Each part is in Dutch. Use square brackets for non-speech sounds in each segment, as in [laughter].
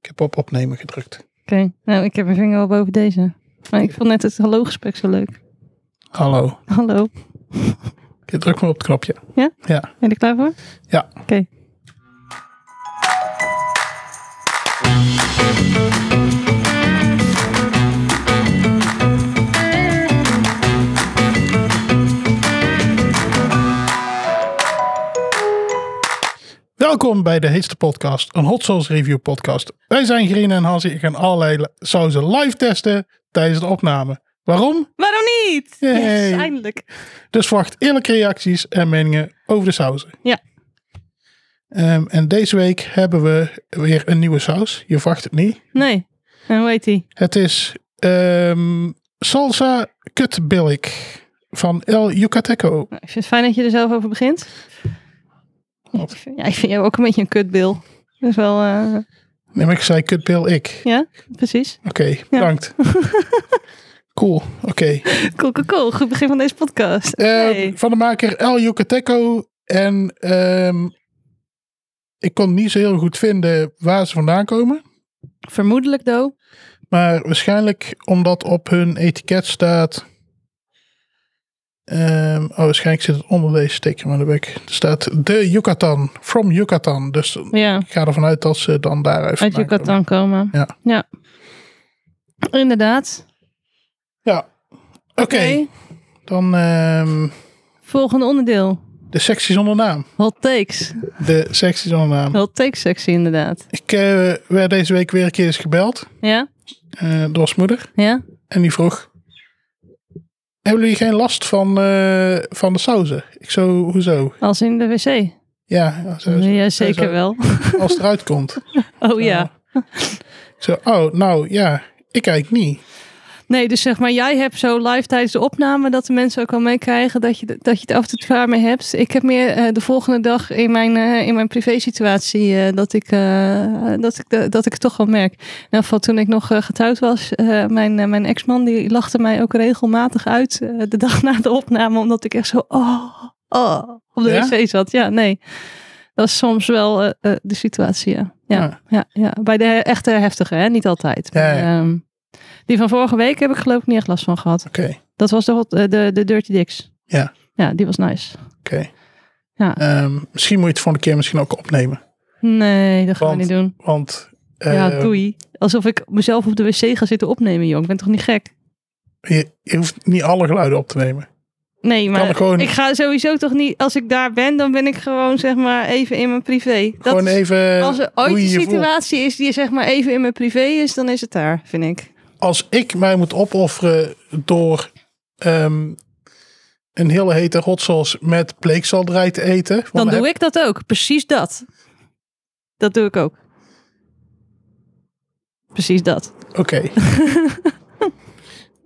Ik heb op opnemen gedrukt. Oké, nou ik heb mijn vinger al boven deze. Maar ik vond net het hallo-gesprek zo leuk. Hallo. Hallo, Je drukt maar op het knopje. Ja? Ja. ben je er klaar voor? Ja. Oké. Welkom bij de heetste podcast, een hot sauce review podcast. Wij zijn Green en Hansi en gaan allerlei la- sauzen live testen tijdens de opname. Waarom? Waarom niet? Yay. Yes, eindelijk. Dus verwacht eerlijke reacties en meningen over de sauzen. Ja. Ehm, en deze week hebben we weer een nieuwe saus. Je verwacht het niet. Nee. En hoe heet die? Het is ehm, salsa kutbillik van El Yucateco. Nou, ik vind het fijn dat je er zelf over begint. Ja, ik Wat? vind, ja, ik vind jou ook een beetje een kutbil. Dat is wel, eh, Neem ik zei kutbillik. ja, [laughs] precies. Oké, [laughs] bedankt. cool, oké. Cool, cool, cool. Goed begin van deze podcast. Eh, Nee. Van de maker El Yucateco. En ehm, ik kon niet zo heel goed vinden waar ze vandaan komen. Vermoedelijk, though. Maar waarschijnlijk omdat op hun etiket staat... ehm, oh, waarschijnlijk zit het onder deze sticker, maar daar ben ik. Er staat de Yucatan, from Yucatan. Dus Ja. ik ga ervan uit dat ze dan daaruit Uit vandaan Yucatan komen. Ja. ja. Inderdaad. komen. Ja, oké. Dan ehm, Volgende onderdeel. de sectie zonder naam. Hot takes. De sectie zonder naam. Hot takes sectie inderdaad. Ik eh, werd deze week weer een keer eens gebeld Ja? eh, door zijn moeder. Ja? En die vroeg: Hebben jullie geen last van, eh, van de sauzen? Ik zo, hoezo? Als in de wc. Ja, ja, zo- Ja, zo- zeker wel. [laughs] Als het eruit komt. Nou, Oh ja. Ik zo, oh, nou ja, ik eigenlijk niet. Nee, dus zeg maar, jij hebt zo live tijdens de opname dat de mensen ook al meekrijgen dat je, dat je het af en toe zwaar mee hebt. Ik heb meer eh, de volgende dag in mijn, eh, in mijn privé-situatie eh, dat, ik, eh, dat, ik de- dat ik het toch wel merk. In ieder geval toen ik nog eh, getrouwd was, eh, mijn, eh, mijn ex-man die lachte mij ook regelmatig uit eh, de dag na de opname, omdat ik echt zo, oh, oh, op de Ja? wc zat. Ja, nee. Dat is soms wel eh, eh, de situatie, ja. Ja, Ja. ja. ja, Bij de he- echte heftige, hè? niet altijd. Ja, Maar, ja. ehm, die van vorige week heb ik geloof ik niet echt last van gehad. Oké, Dat was de, hot- eh, de, de Dirty Dicks. Ja. Ja, die was nice. oké. Ja. Ehm, misschien moet je het voor een keer misschien ook opnemen. Nee, dat gaan we Want, niet doen. Want eh, ja, doei. Alsof ik mezelf op de wc ga zitten opnemen, jong. Ik ben toch niet gek? je, je hoeft niet alle geluiden op te nemen. Nee, maar er gewoon- ik ga sowieso toch niet... Als ik daar ben, dan ben ik gewoon zeg maar even in mijn privé. Dat Gewoon is- even. als er ooit hoe een je je voelt. situatie is die zeg maar even in mijn privé is, dan is het daar, vind ik. als ik mij moet opofferen door ehm, een hele hete hot sauce met bleekselderij te eten. want Dan dan doe heb- ik dat ook. Precies dat. Dat doe ik ook. Precies dat. Oké. [laughs]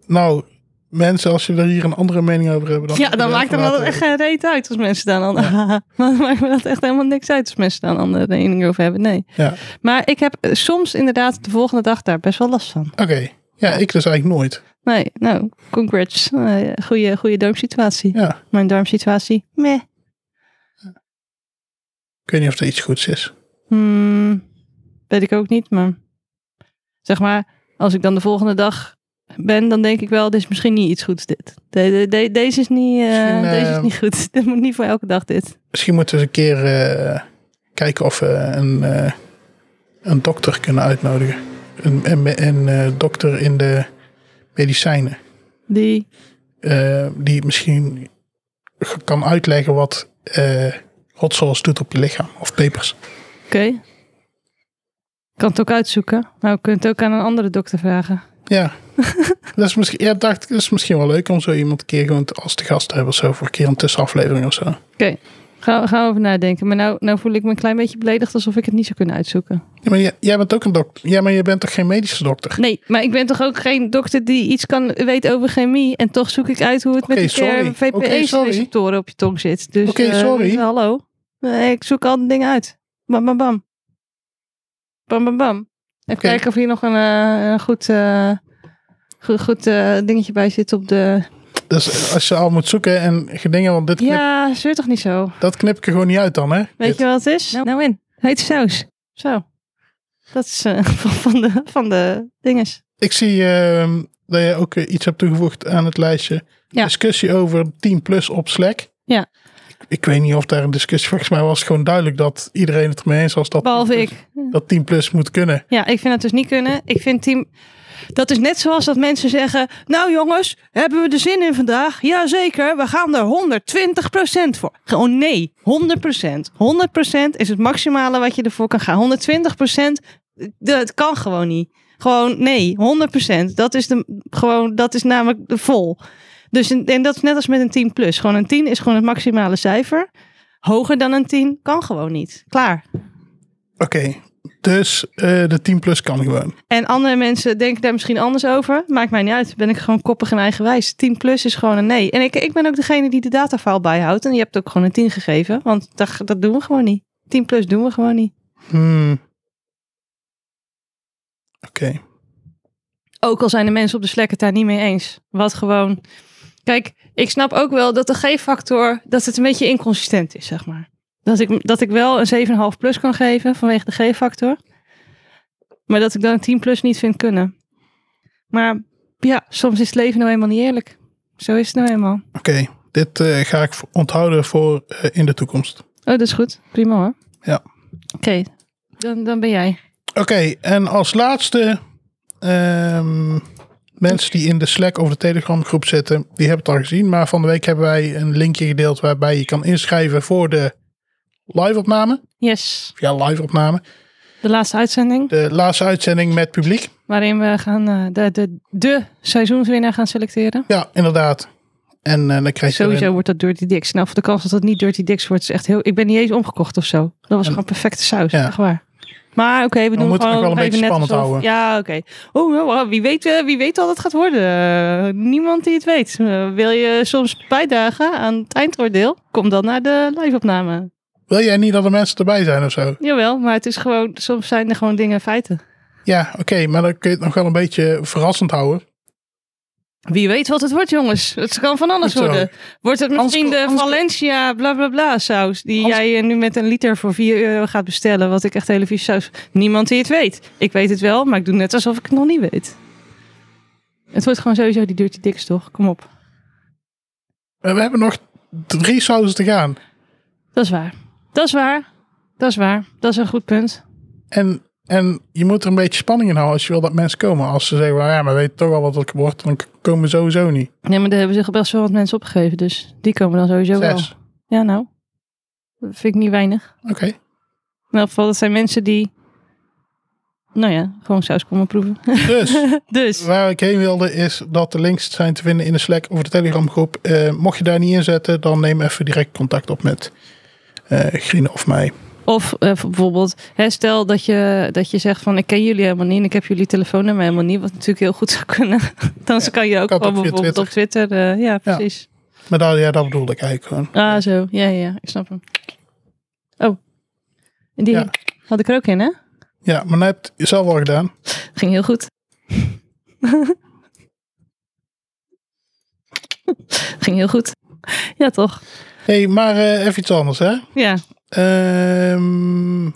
nou, mensen, als jullie er hier een andere mening over hebben. Dan ja, dan eh, maakt er laten wel we- echt geen reet uit als mensen daar dan... [laughs] dan maakt me dat echt helemaal niks uit als mensen daar een andere mening over hebben. Nee. Ja, Maar ik heb eh, soms inderdaad de volgende dag daar best wel last van. oké. Ja, ik dus eigenlijk nooit. Nee, nou, congrats. Eh, goeie, goede darmsituatie. Ja, Mijn darmsituatie, meh. ik weet niet of er iets goeds is. Hmm, weet ik ook niet, maar zeg maar, als ik dan de volgende dag ben, dan denk ik wel, dit is misschien niet iets goeds dit. De- de- de- deze, is niet, eh, Misschien, eh, deze is niet goed. [laughs] Dit moet niet voor elke dag dit. Misschien moeten we eens een keer eh, kijken of we een, eh, een dokter kunnen uitnodigen. Een, een, een eh, dokter in de medicijnen. Die, eh, die misschien ge- kan uitleggen wat eh hot sauce doet op je lichaam of pepers. oké. Ik kan het ook uitzoeken. Maar we kunnen het ook aan een andere dokter vragen. [laughs] Ja, dat is misschien, ja, dacht, ik, dat is misschien wel leuk om zo iemand een keer gewoon te- als te gast te hebben of zo, voor een keer een tussenaflevering of zo. Oké, gaan we gaan we over nadenken. Maar nou, nou voel ik me een klein beetje beledigd alsof ik het niet zou kunnen uitzoeken. Ja, maar jij, jij bent ook een dokter. Ja, maar je bent toch geen medische dokter? Nee, maar ik ben toch ook geen dokter die iets kan weet over chemie. En toch zoek ik uit hoe het Oké, met die sorry. Oké, sorry. VPE-receptoren op je tong zit. Dus, Oké, eh, sorry. hallo. Nee, ik zoek al die dingen uit. Bam, bam, bam. Bam, bam, bam. Even Oké. kijken of hier nog een, eh, een goed, eh, goed, goed eh, dingetje bij zit op de... Dus als je al moet zoeken en gedingen, want dit knip, Ja, zeur toch niet zo. dat knip ik er gewoon niet uit dan, hè? Weet Dit. je wat het is? Nou in. Heet saus. Zo. Dat is eh, [laughs] van, van de, van de dinges. Ik zie ehm, dat je ook eh, iets hebt toegevoegd aan het lijstje. Ja. Discussie over 10 plus op Slack. Ja. Ik, ik weet niet of daar een discussie... Volgens mij was het gewoon duidelijk dat iedereen het ermee eens was dat, Behalve ik. dat 10 plus moet kunnen. Ja, ik vind dat dus niet kunnen. Ik vind team. Dat is net zoals dat mensen zeggen. Nou jongens, hebben we er zin in vandaag? Jazeker, we gaan er 120% voor. Gewoon nee, 100%. 100% is het maximale wat je ervoor kan gaan. 120% dat kan gewoon niet. Gewoon nee, 100%. Dat is, de, gewoon, dat is namelijk de vol. Dus een- en dat is net als met een 10 plus. Gewoon een 10 is gewoon het maximale cijfer. Hoger dan een 10 kan gewoon niet. Klaar. Oké, dus eh, de 10 plus kan gewoon. En andere mensen denken daar misschien anders over. Maakt mij niet uit. Ben ik gewoon koppig en eigenwijs. 10 plus is gewoon een nee. En ik, ik ben ook degene die de datafile bijhoudt. En je hebt ook gewoon een 10 gegeven. Want dat, dat doen we gewoon niet. 10 plus doen we gewoon niet. Hmm. Oké. Ook al zijn de mensen op de Slack het daar niet mee eens. Wat gewoon... Kijk, ik snap ook wel dat de G-factor... dat het een beetje inconsistent is, zeg maar. Dat ik, dat ik wel een 7,5 plus kan geven vanwege de G-factor. Maar dat ik dan een 10 plus niet vind kunnen. Maar ja, soms is het leven nou eenmaal niet eerlijk. Zo is het nou eenmaal. Oké, dit eh, ga ik onthouden voor eh, in de toekomst. Oh, dat is goed. Prima hoor. Ja. Oké, dan, dan ben jij. Oké, en als laatste... ehm, mensen die in de Slack of de Telegram groep zitten... die hebben het al gezien. Maar van de week hebben wij een linkje gedeeld... waarbij je kan inschrijven voor de live-opname. Yes, Ja, live-opname. de laatste uitzending De laatste uitzending met publiek. waarin we gaan eh, de, de, de seizoenswinnaar gaan selecteren. Ja, inderdaad. En eh, dan krijg je... Sowieso wordt dat Dirty Dicks. Nou, voor de kans dat dat niet Dirty Dicks wordt, is echt heel... Ik ben niet eens omgekocht of zo. Dat was gewoon perfecte saus, Ja. echt waar. Maar oké, we doen moeten het gewoon nog wel een even beetje net spannend alsof- houden. Ja, oké. Oh, nou, ah, wie weet, eh, wie weet wat het gaat worden. Eh, niemand die het weet. Eh, wil je soms bijdragen aan het eindoordeel? Kom dan naar de live-opname. Wil jij niet dat er mensen erbij zijn of zo? Jawel, maar het is gewoon, soms zijn er gewoon dingen feiten. Ja, oké, maar dan kun je het nog wel een beetje verrassend houden. Wie weet wat het wordt, jongens. Het kan van alles Zo. worden. Wordt het Anders- misschien de anders- Valencia bla bla bla saus? Die Anders- jij eh, nu met een liter voor 4 euro gaat bestellen. Wat ik echt hele vies saus. Niemand die het weet. Ik weet het wel, maar ik doe net alsof ik het nog niet weet. Het wordt gewoon sowieso die Dirty Dicks, toch? Kom op. Maar Eh, We hebben nog drie sauzen te gaan. Dat is waar. Dat is waar. Dat is waar. Dat is een goed punt. En, en je moet er een beetje spanning in houden als je wil dat mensen komen. Als ze zeggen, "Nou ja, maar weet toch al wat het wordt, dan komen ze sowieso niet. Nee, maar daar hebben zich best wel wat mensen opgegeven. Dus die komen dan sowieso Zes. wel. Ja, nou. Dat vind ik niet weinig. Oké, In elk geval, dat zijn mensen die... Nou ja, gewoon saus komen proeven. [laughs] dus dus, waar ik heen wilde is dat de links zijn te vinden in de Slack of de Telegram groep. Eh, mocht je daar niet in zetten, dan neem even direct contact op met eh Grine of mij. of eh, bijvoorbeeld, hè, stel dat je, dat je zegt van... ik ken jullie helemaal niet en ik heb jullie telefoonnummer helemaal niet... wat natuurlijk heel goed [laughs] zou kunnen. Dan kan je ook kan gewoon ook via bijvoorbeeld op Twitter... eh, ja, precies. Maar daar, ja, dat bedoelde ik eigenlijk gewoon. Ah, zo. Ja, ja, ja, ik snap hem. Oh, en die Ja. had ik er ook in, hè? Ja, maar dat heb je zelf al gedaan. Ging heel goed. [laughs] Ging heel goed. Ja, toch? Hé, hey, maar eh, even iets anders hè. Ja. Ehm,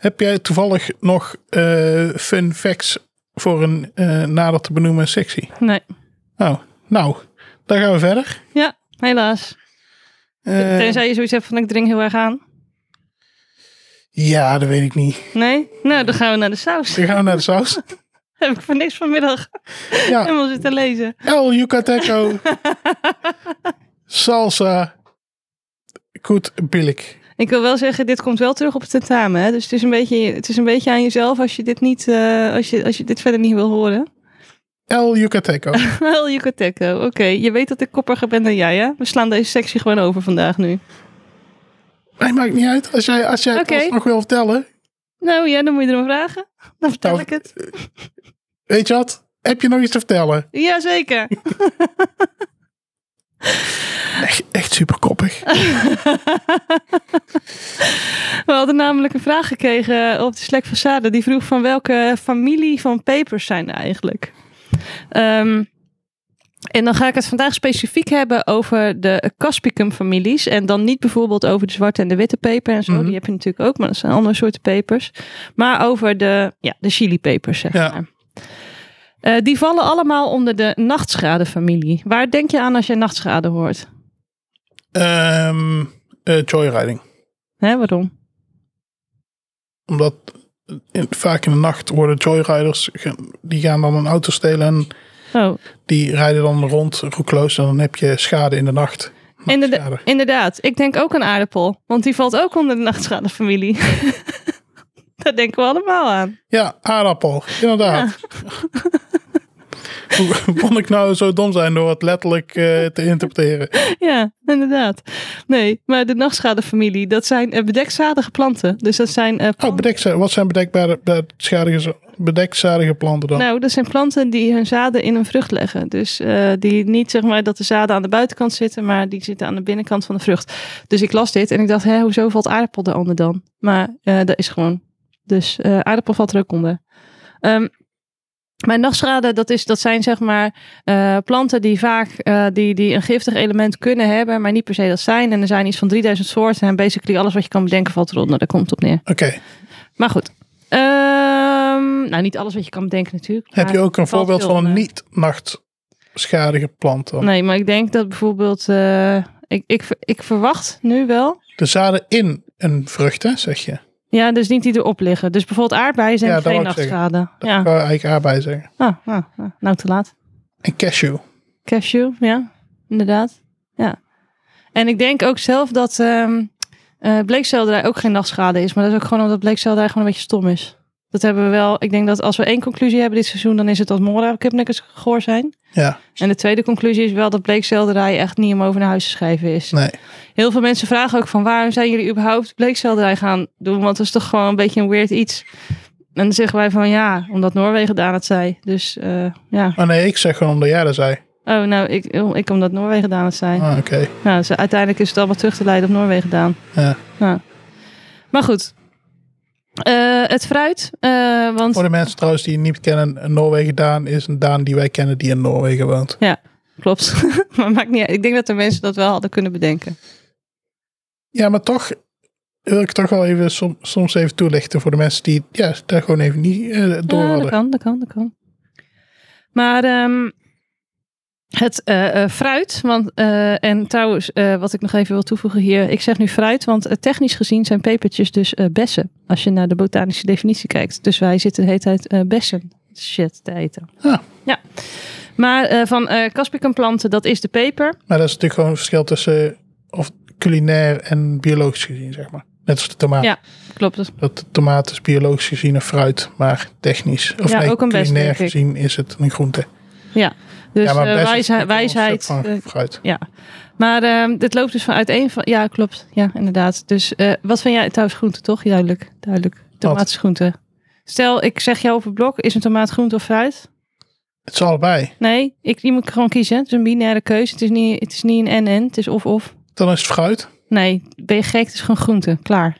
heb jij toevallig nog eh, fun facts voor een eh, nader te benoemen sectie? Nee. Oh, nou, dan gaan we verder. Ja, helaas. Eh, Tenzij je zoiets hebt van ik drink heel erg aan. Ja, dat weet ik niet. Nee? Nou, dan gaan we naar de saus. [laughs] Dan gaan we naar de saus. Heb ik voor niks vanmiddag [laughs] Ja, helemaal zitten lezen. El Yucateco. Salsa. Goed, billig. Ik wil wel zeggen, dit komt wel terug op het tentamen. Hè? Dus het is, een beetje, het is een beetje aan jezelf als je dit, niet, eh, als je, als je dit verder niet wil horen. [laughs] El Yucateco. Wel, Yucateco. Oké, je weet dat ik koppiger ben dan jij, hè? We slaan deze sectie gewoon over vandaag nu. Nee, maakt niet uit. Als jij, als jij Oké. het nog wil vertellen. Nou ja, dan moet je erom vragen. Dan vertel Nou, ik het. Weet je wat? Heb je nog iets te vertellen? Jazeker. Echt, echt super koppig. [laughs] We hadden namelijk een vraag gekregen op de Slack van Sade. Die vroeg van welke familie van pepers zijn er eigenlijk? Ehm, En dan ga ik het vandaag specifiek hebben over de Caspicum-families. En dan niet bijvoorbeeld over de zwarte en de witte peper en zo. Mhm. Die heb je natuurlijk ook, maar dat zijn andere soorten pepers. Maar over de, ja, de chilipepers, zeg Ja. maar. Eh, die vallen allemaal onder de nachtschade-familie. Waar denk je aan als je nachtschade hoort? Ehm, eh, joyriding. Hè, waarom? Omdat in- vaak in de nacht worden joyriders, ge- die gaan dan een auto stelen en Oh, die rijden dan rond roekloos en dan heb je schade in de nacht. Inderda- Nachtschade. inderdaad. Ik denk ook aan aardappel. Want die valt ook onder de nachtschade-familie. [laughs] Daar denken we allemaal aan. Ja, aardappel, inderdaad. [laughs] Hoe kon ik nou zo dom zijn door het letterlijk eh, te interpreteren? Ja, inderdaad. Nee, maar de nachtschadefamilie, dat zijn eh, bedekzadige planten. Dus dat zijn. eh, Oh, planten- bedekza- wat zijn bedekbare, bedekzadige, bedekzadige planten dan? nou, dat zijn planten die hun zaden in een vrucht leggen. Dus eh, die niet zeg maar dat de zaden aan de buitenkant zitten, maar die zitten aan de binnenkant van de vrucht. Dus ik las dit en ik dacht, hè, hoezo valt aardappel daaronder dan? Maar eh, dat is gewoon. Dus eh, aardappel valt er ook onder. Ehm, maar nachtschade, dat, is, dat zijn zeg maar eh, planten die vaak eh, die, die een giftig element kunnen hebben, maar niet per se dat zijn. En er zijn iets van 3000 soorten en basically alles wat je kan bedenken valt eronder. Daar komt het op neer. Oké, Maar goed. Ehm, nou, niet alles wat je kan bedenken natuurlijk. heb maar je ook een valt voorbeeld veel van een onder. niet-nachtschadige plant dan? Nee, maar ik denk dat bijvoorbeeld... eh, ik, ik, ver- ik verwacht nu wel... De zaden in een vrucht, hè, zeg je? Ja, dus niet die erop liggen. Dus bijvoorbeeld aardbeien zijn Ja, dat geen wou ik zeggen. nachtschade. Dat Ja. kan ik eigenlijk aardbei zeggen. Ah, ah, ah, nou, te laat. En cashew. Cashew, ja, inderdaad. Ja. En ik denk ook zelf dat ehm eh, bleekselderij ook geen nachtschade is. Maar dat is ook gewoon omdat bleekselderij gewoon een beetje stom is. Dat hebben we wel. Ik denk dat als we één conclusie hebben dit seizoen, dan is het dat Mora kipnikkers goor zijn. Ja, En de tweede conclusie is wel dat bleekselderij echt niet om over naar huis te schrijven is. nee. Heel veel mensen vragen ook van waarom zijn jullie überhaupt bleekselderij gaan doen? Want dat is toch gewoon een beetje een weird iets. En dan zeggen wij van ja, omdat Noorwegen daar het zei. Dus eh, ja. Oh nee, ik zeg gewoon omdat jij dat zei. Oh, nou, ik, ik omdat Noorwegen daar het zei. Ah, oké. Nou, dus uiteindelijk is het allemaal terug te leiden op Noorwegen gedaan. Ja. Maar goed. Eh, het fruit, eh, want Voor de mensen trouwens die het niet kennen, een Noorwegen Daan is een Daan die wij kennen die in Noorwegen woont. klopt, [laughs] maar maakt niet uit. Ik denk dat de mensen dat wel hadden kunnen bedenken. Ja, maar toch wil ik toch wel even som- soms even toelichten voor de mensen die ja, daar gewoon even niet eh, door Ja, dat hadden. kan, dat kan, dat kan. Maar ehm, het eh, eh, fruit, want, eh, en trouwens, eh, wat ik nog even wil toevoegen hier. Ik zeg nu fruit, want eh, technisch gezien zijn pepertjes dus eh, bessen. Als je naar de botanische definitie kijkt. Dus wij zitten de hele tijd eh, bessen shit te eten. Ja. ja. Maar eh, van eh caspicumplanten, dat is de peper. Maar dat is natuurlijk gewoon een verschil tussen of culinair en biologisch gezien, zeg maar. Net als de tomaat. Ja. Klopt het. Dat de tomaat is biologisch gezien een fruit, maar technisch. Of Ja, nee, ook een best, culinair denk ik. gezien is het een groente. Dus ja, maar eh, best is natuurlijk wijsheid, wel een wijsheid soort van eh, fruit. Ja, maar ehm, dit loopt dus van uiteen van... Ja, klopt. Ja, inderdaad. Dus eh, wat vind jij trouwens groente, toch? Duidelijk, duidelijk. Tomaat is groente. Stel, ik zeg jou op het blok, is een tomaat groente of fruit? Het is allebei. Nee, ik, je moet gewoon kiezen. Het is een binaire keuze. Het is niet, het is niet een en-en. Het is of-of. Dan is het fruit. Nee, ben je gek? Het is gewoon groente. Klaar.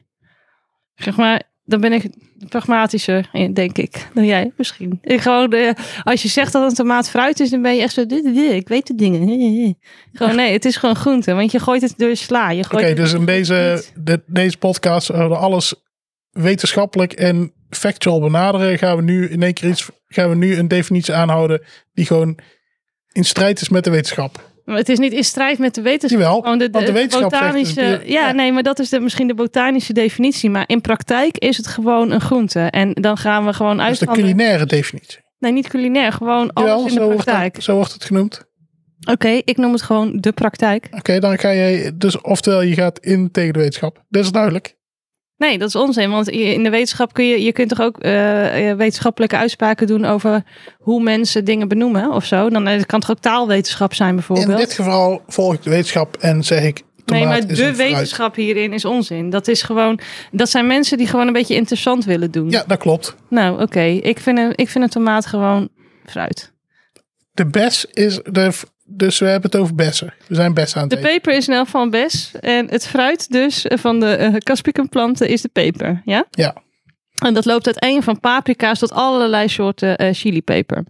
Zeg maar, dan ben ik pragmatischer, eh, denk ik, dan jij misschien. Ik gewoon, eh, als je zegt dat een tomaat fruit is, dan ben je echt zo... "Dit, dit, dit, Ik weet de dingen. Gewoon, nee, het is gewoon groente. Want je gooit het door je sla. Je gooit Oké, het- dus in deze, niet. de- deze podcast, we hadden alles wetenschappelijk en factual benaderen, gaan we nu in één keer iets, gaan we nu een definitie aanhouden die gewoon in strijd is met de wetenschap. Maar het is niet in strijd met de wetenschap. Jawel, Gewoon de, want de de wetenschap zegt dus botanische. bio- ja, ja. nee, maar dat is de, misschien de botanische definitie. Maar in praktijk is het gewoon een groente. En dan gaan we gewoon dus de uit. culinaire definitie. Nee, niet culinair. Gewoon alles Jawel, in de zo wordt, praktijk. het, zo wordt het genoemd. Oké, ik noem het gewoon de praktijk. Oké, dan ga je, dus oftewel je gaat in tegen de wetenschap. Dat is duidelijk. Nee, dat is onzin. Want je- in de wetenschap kun je, je kunt toch ook eh, eh, wetenschappelijke uitspraken doen over hoe mensen dingen benoemen of zo. Dan eh, het kan toch ook taalwetenschap zijn bijvoorbeeld. In dit geval volg ik de wetenschap en zeg ik tomaat Nee, maar is de een fruit. wetenschap hierin is onzin. Dat is gewoon, dat zijn mensen die gewoon een beetje interessant willen doen. Ja, dat klopt. Nou, oké. Ik, vind een, ik vind een tomaat gewoon fruit. De bes is de, dus we hebben het over bessen. We zijn bessen aan het De eten. peper is in elk geval een bes. En het fruit dus eh, van de eh caspicumplanten is de peper. Ja? Ja. En dat loopt uiteen van paprika's tot allerlei soorten eh chilipeper.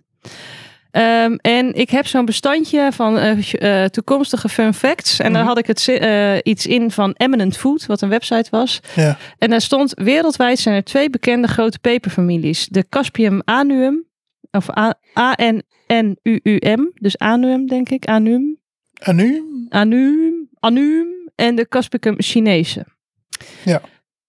Ehm, en ik heb zo'n bestandje van eh, eh, toekomstige fun facts. En daar Mhm. had ik het, zi- eh, iets in van Eminent Food, wat een website was. Ja. En daar stond, wereldwijd zijn er twee bekende grote peperfamilies. De Caspium anuum, of A- A-N-N-U-U-M, dus anuum denk ik, anuum. En nu? Anum, Anum en de Caspicum Chinese. Ja.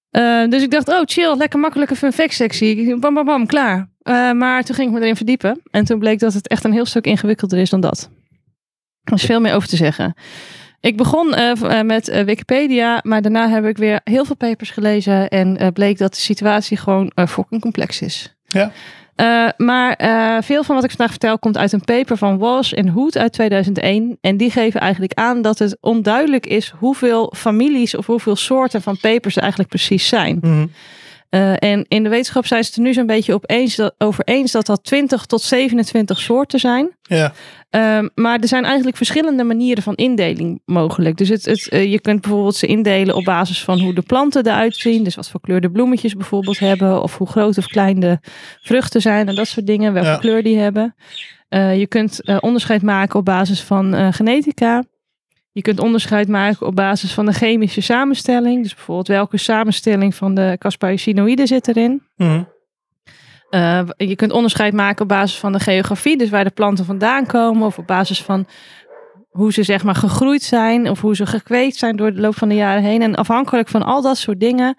Eh, dus ik dacht, oh chill, lekker makkelijke fun fact sectie. Bam, bam, bam, klaar. Eh, maar toen ging ik me erin verdiepen. En toen bleek dat het echt een heel stuk ingewikkelder is dan dat. Er is veel meer over te zeggen. Ik begon eh, v- eh, met eh, Wikipedia, maar daarna heb ik weer heel veel papers gelezen. En eh, bleek dat de situatie gewoon eh fucking complex is. Ja. Eh, maar eh, veel van wat ik vandaag vertel komt uit een paper van Walsh en Hood uit 2001. En die geven eigenlijk aan dat het onduidelijk is hoeveel families of hoeveel soorten van papers er eigenlijk precies zijn. Mhm. Eh, en in de wetenschap zijn ze het er nu zo'n beetje op eens dat, over eens dat dat 20 tot 27 soorten zijn. Ja. Ehm, maar er zijn eigenlijk verschillende manieren van indeling mogelijk. Dus het, het, eh, je kunt bijvoorbeeld ze indelen op basis van hoe de planten eruit zien. Dus wat voor kleur de bloemetjes bijvoorbeeld hebben. Of hoe groot of klein de vruchten zijn en dat soort dingen. Welke Ja. kleur die hebben. Eh, je kunt eh, onderscheid maken op basis van eh, genetica. Je kunt onderscheid maken op basis van de chemische samenstelling. Dus bijvoorbeeld welke samenstelling van de Caspariacinoïden zit erin. Mhm. Eh, je kunt onderscheid maken op basis van de geografie, dus waar de planten vandaan komen, of op basis van hoe ze zeg maar gegroeid zijn, of hoe ze gekweekt zijn door de loop van de jaren heen. En afhankelijk van al dat soort dingen,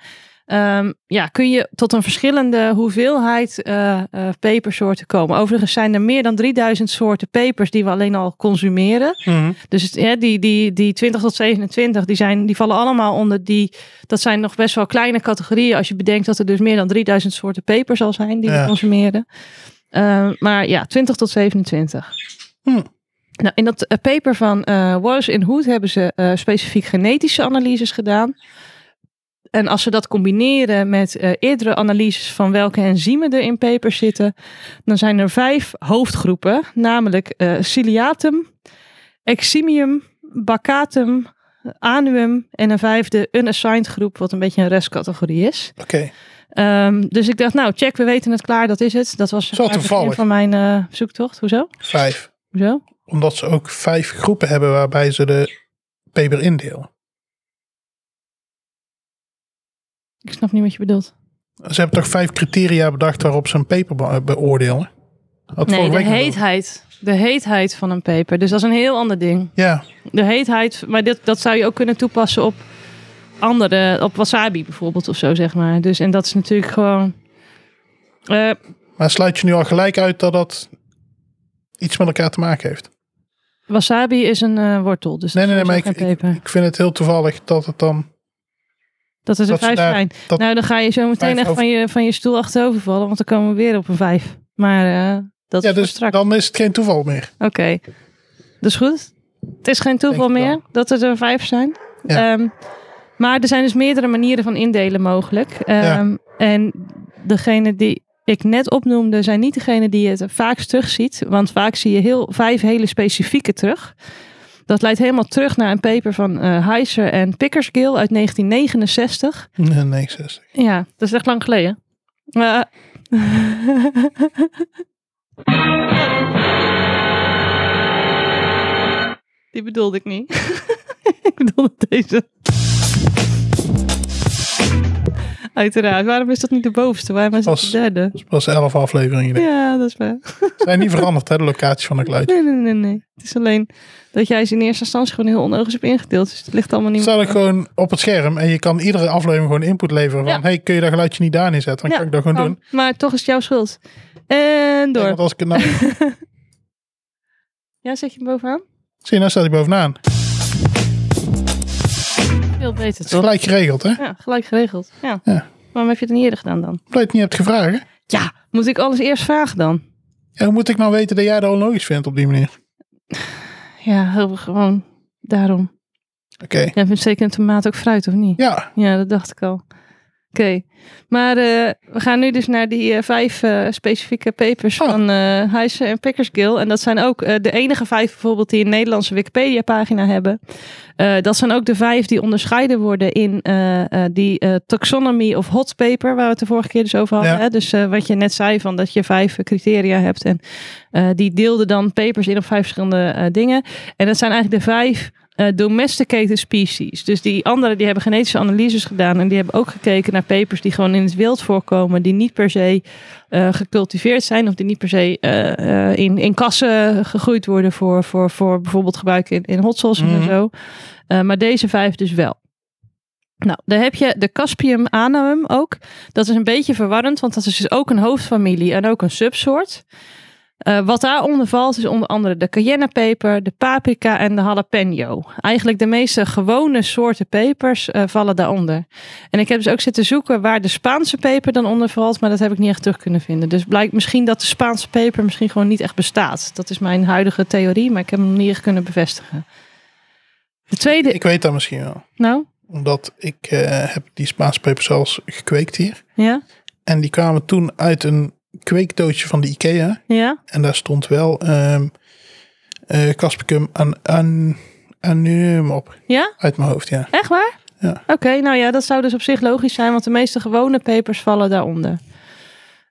ehm, ja, kun je tot een verschillende hoeveelheid eh, eh, pepersoorten komen. Overigens zijn er meer dan 3000 soorten pepers die we alleen al consumeren. Mhm. Dus het- hè, die, die, die 20 tot 27, die, zijn, die vallen allemaal onder die. Dat zijn nog best wel kleine categorieën. Als je bedenkt dat er dus meer dan 3000 soorten peper zal zijn die Ja. we consumeren. Eh, maar ja, 20 tot 27. Hm. Nou, in dat eh, paper van eh Walsh en Hood hebben ze eh, specifiek genetische analyses gedaan. En als ze dat combineren met eh, eerdere analyses van welke enzymen er in pepers zitten, dan zijn er vijf hoofdgroepen, namelijk eh, ciliatum, eximium, bacatum, anuum en een vijfde unassigned groep, wat een beetje een restcategorie is. Oké. Ehm, dus ik dacht, nou check, we weten het klaar, dat is het. Dat was Zo het begin toevallig. van mijn eh, zoektocht. Hoezo? Vijf. Hoezo? Omdat ze ook vijf groepen hebben waarbij ze de peper indelen. Ik snap niet wat je bedoelt. Ze hebben toch vijf criteria bedacht waarop ze een peper be- beoordelen? Had nee, vorige de week nog over. heetheid. De heetheid van een peper. Dus dat is een heel ander ding. Ja, De heetheid, maar dit, dat zou je ook kunnen toepassen op andere, op wasabi bijvoorbeeld of zo, zeg maar. Dus, en dat is natuurlijk gewoon... eh, maar sluit je nu al gelijk uit dat dat iets met elkaar te maken heeft? wasabi is een eh, wortel, dus Nee, dat nee, is nee, maar sowieso ik, geen ik, peper. ik vind het heel toevallig dat het dan... Dat het er Dat ze vijf daar- zijn. dat- nou, dan ga je zo meteen vijf echt over- van, je, van je stoel achterover vallen, want dan komen we weer op een vijf. Maar eh, dat Ja, is dus dus strak. dan is het geen toeval meer. Oké, dus goed. Het is geen toeval Denk ik meer wel. dat er er vijf zijn. Ja. Ehm, maar er zijn dus meerdere manieren van indelen mogelijk. Ehm, En degene die ik net opnoemde, zijn niet degene die het vaakst terugziet. Want vaak zie je heel, vijf hele specifieke terug. Dat leidt helemaal terug naar een paper van eh Heiser en Pickersgill uit 1969. Nee, nee, 60. Ja, dat is echt lang geleden. Eh. [laughs] Die bedoelde ik niet. [laughs] ik bedoelde deze. Uiteraard. Waarom is dat niet de bovenste? Waarom is dat Als- de derde? Dat was elf afleveringen. denk ik. Ja, dat is waar. Ze zijn niet veranderd, hè, de locatie van het geluid. Nee, nee, nee, nee. Het is alleen dat jij ze in eerste instantie gewoon heel onlogisch hebt ingedeeld. Dus het ligt allemaal niet Staat ik gewoon op het scherm en je kan iedere aflevering gewoon input leveren van... Ja. hey, kun je dat geluidje niet daarin zetten? Dan Ja, kan ik dat gewoon kan. doen. Oh, Maar toch is het jouw schuld. En Ja, door. want als ik het nou... Ja, zet je hem bovenaan? Zie je, nou staat hij bovenaan. Het Veel beter, is toch? gelijk geregeld, hè? Ja, gelijk geregeld. Ja. Ja. Waarom heb je het niet eerder gedaan dan? Omdat je het niet hebt gevraagd. hè? Ja, moet ik alles eerst vragen dan? Ja, hoe moet ik nou weten dat jij dat onlogisch vindt op die manier? Ja, heel veel gewoon daarom. Oké. Jij vindt zeker een tomaat ook fruit, of niet? Ja, Ja, dat dacht ik al. Maar eh, we gaan nu dus naar die eh, vijf eh, specifieke papers Oh. van eh Heijsen en Pickersgill. En dat zijn ook eh, de enige vijf bijvoorbeeld die een Nederlandse Wikipedia-pagina hebben. Eh, dat zijn ook de vijf die onderscheiden worden in eh, eh, die eh, taxonomy of hot paper, waar we het de vorige keer dus over hadden. Ja. Hè? Dus eh, wat je net zei, van dat je vijf eh, criteria hebt. En eh, die deelden dan papers in op vijf verschillende eh, dingen. En dat zijn eigenlijk de vijf eh, domesticated species. Dus die anderen die hebben genetische analyses gedaan. En die hebben ook gekeken naar papers die gewoon in het wild voorkomen. Die niet per se eh, gecultiveerd zijn. Of die niet per se eh, eh, in, in kassen gegroeid worden. Voor, voor, voor bijvoorbeeld gebruik in, in hot sauces en Mhm. zo. Eh, maar deze vijf dus wel. Nou, dan heb je de Caspium anum ook. Dat is een beetje verwarrend, want dat is dus ook een hoofdfamilie en ook een subsoort. Eh, wat daaronder valt is onder andere de cayennepeper, de paprika en de jalapeno. Eigenlijk de meeste gewone soorten pepers eh, vallen daaronder. En ik heb dus ook zitten zoeken waar de Spaanse peper dan onder valt, maar dat heb ik niet echt terug kunnen vinden. Dus blijkt misschien dat de Spaanse peper misschien gewoon niet echt bestaat. Dat is mijn huidige theorie, maar ik heb hem niet echt kunnen bevestigen. De tweede, Ik weet dat misschien wel. nou, Omdat ik eh, heb die Spaanse peper zelfs gekweekt hier. ja, En die kwamen toen uit een kweekdoosje van de Ikea. ja, En daar stond wel ehm eh Caspicum an, an, Annuum op. ja. Uit mijn hoofd, ja. Echt waar? Ja. Oké, nou ja, dat zou dus op zich logisch zijn, want de meeste gewone pepers vallen daaronder.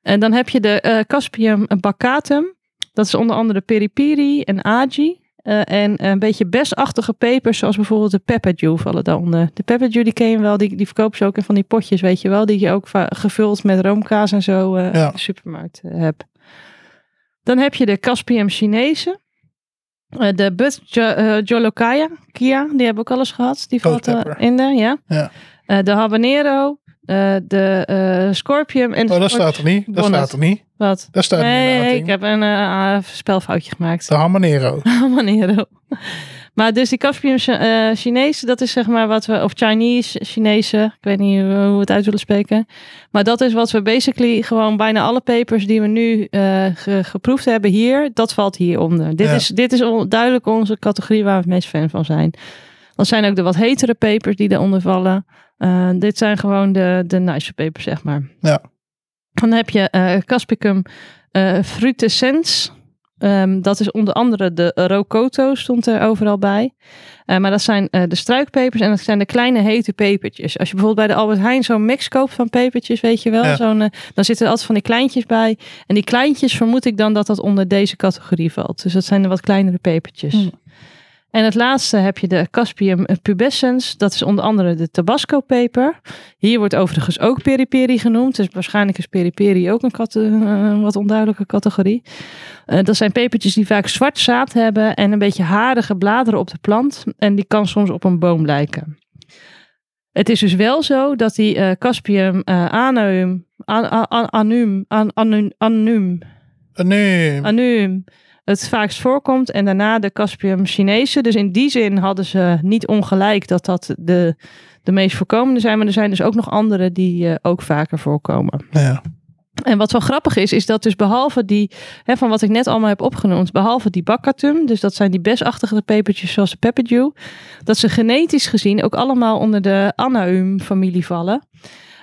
En dan heb je de eh, Caspium baccatum. Dat is onder andere peripiri en agi. Eh, en een beetje besachtige pepers, zoals bijvoorbeeld de pepperdew, vallen daaronder. De pepperdew, die ken je wel, die, die verkopen ze ook in van die potjes, weet je wel. Die je ook va- gevuld met roomkaas en zo eh Ja. in de supermarkt eh, hebt. Dan heb je de Caspium Chinese. Eh, de Bud Jo- eh, Jolokaya, Kia, die hebben we ook alles gehad. Die Ghost valt eh, pepper. in de, ja. Ja. Eh, de habanero, eh, de eh Scorpium en de Oh, dat Scor- staat er niet. Dat Bonnet. staat er niet. Wat? Daar staat Nee, niet. ik heb een eh, ah, spelfoutje gemaakt. De habanero. Habanero. Maar dus die Caspium Chi- eh, Chinese, dat is zeg maar wat we, of Chinese, Chinese, ik weet niet hoe hoe we het uit willen spreken. Maar dat is wat we basically gewoon bijna alle papers die we nu eh, ge- geproefd hebben hier, dat valt hieronder. Dit Ja. is, dit is on- duidelijk onze categorie waar we het meest fan van zijn. Dat zijn ook de wat hetere papers die daaronder vallen. Eh, dit zijn gewoon de, de nice papers, zeg maar. Ja. Dan heb je eh Caspicum eh frutescens. Ehm, dat is onder andere de rocoto stond er overal bij. Eh, maar dat zijn eh, de struikpepers en dat zijn de kleine hete pepertjes. Als je bijvoorbeeld bij de Albert Heijn zo'n mix koopt van pepertjes, weet je wel. Ja. Zo'n, eh, dan zitten er altijd van die kleintjes bij. En die kleintjes vermoed ik dan dat dat onder deze categorie valt. Dus dat zijn de wat kleinere pepertjes. Hmm. En het laatste heb je de Caspium pubescens. Dat is onder andere de Tabasco peper. Hier wordt overigens ook periperi genoemd. Dus waarschijnlijk is periperi ook een cate- eh, wat onduidelijke categorie. Eh, dat zijn pepertjes die vaak zwart zaad hebben en een beetje harige bladeren op de plant. En die kan soms op een boom lijken. Het is dus wel zo dat die eh, Caspium eh, anum, an, an- an- anum, an- anum, anum, Nee. anum, het vaakst voorkomt. En daarna de Caspium Chinese. Dus in die zin hadden ze niet ongelijk dat dat de, de meest voorkomende zijn. Maar er zijn dus ook nog andere die eh, ook vaker voorkomen. Ja. En wat wel grappig is, is dat dus behalve die, hè, van wat ik net allemaal heb opgenoemd, behalve die baccatum, dus dat zijn die besachtige pepertjes zoals de pepperdew, dat ze genetisch gezien ook allemaal onder de Anaum-familie vallen.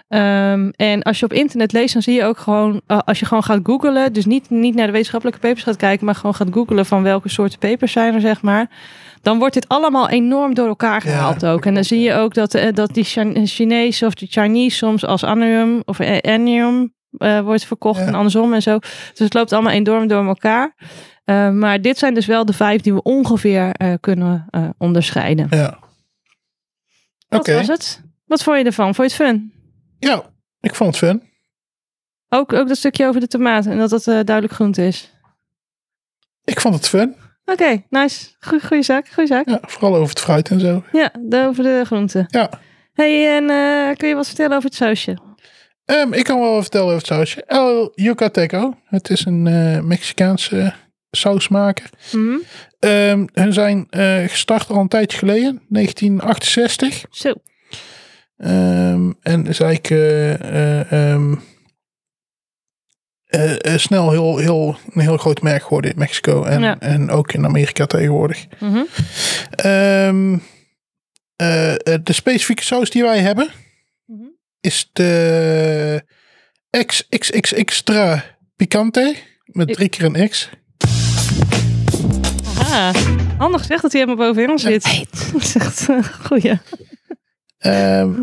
Ehm, en als je op internet leest, dan zie je ook gewoon, eh, als je gewoon gaat googlen, dus niet, niet naar de wetenschappelijke papers gaat kijken, maar gewoon gaat googlen van welke soorten pepers zijn er, zeg maar. Dan wordt dit allemaal enorm door elkaar Ja, gehaald dat ook. En dan klopt, zie je ook dat, eh, dat die Chin- Chinese of de Chinese soms als Anaum of eh, Anium eh, wordt verkocht Ja. en andersom en zo. Dus het loopt allemaal enorm door elkaar. Eh, maar dit zijn dus wel de vijf die we ongeveer eh, kunnen eh, onderscheiden. ja. Oké. Wat was het? Wat vond je ervan? Vond je het fun? Ja, ik vond het fun. Ook, ook dat stukje over de tomaten en dat dat eh, duidelijk groente is. Ik vond het fun. Oké, nice. Goeie, goeie zaak, goeie zaak. Ja, vooral over het fruit en zo. Ja, de- over de groenten. Ja. hey, en eh, kun je wat vertellen over het sausje? Ehm, ik kan wel wat vertellen over het sausje. El Yucateco. Het is een eh, Mexicaanse sausmaker. Mhm. Ehm hun zijn eh, gestart al een tijdje geleden, 1968. Zo. Ehm, en is eigenlijk eh, eh, ehm, eh, eh, snel heel, heel, een heel groot merk geworden in Mexico. En, Ja. en ook in Amerika tegenwoordig. Mhm. Ehm, eh, eh, de specifieke saus die wij hebben, Mhm. is de XXX Extra Picante. Met drie keer een X. Ah, handig gezegd dat hij helemaal bovenaan zit. [laughs] Dat is echt een goeie. Ehm,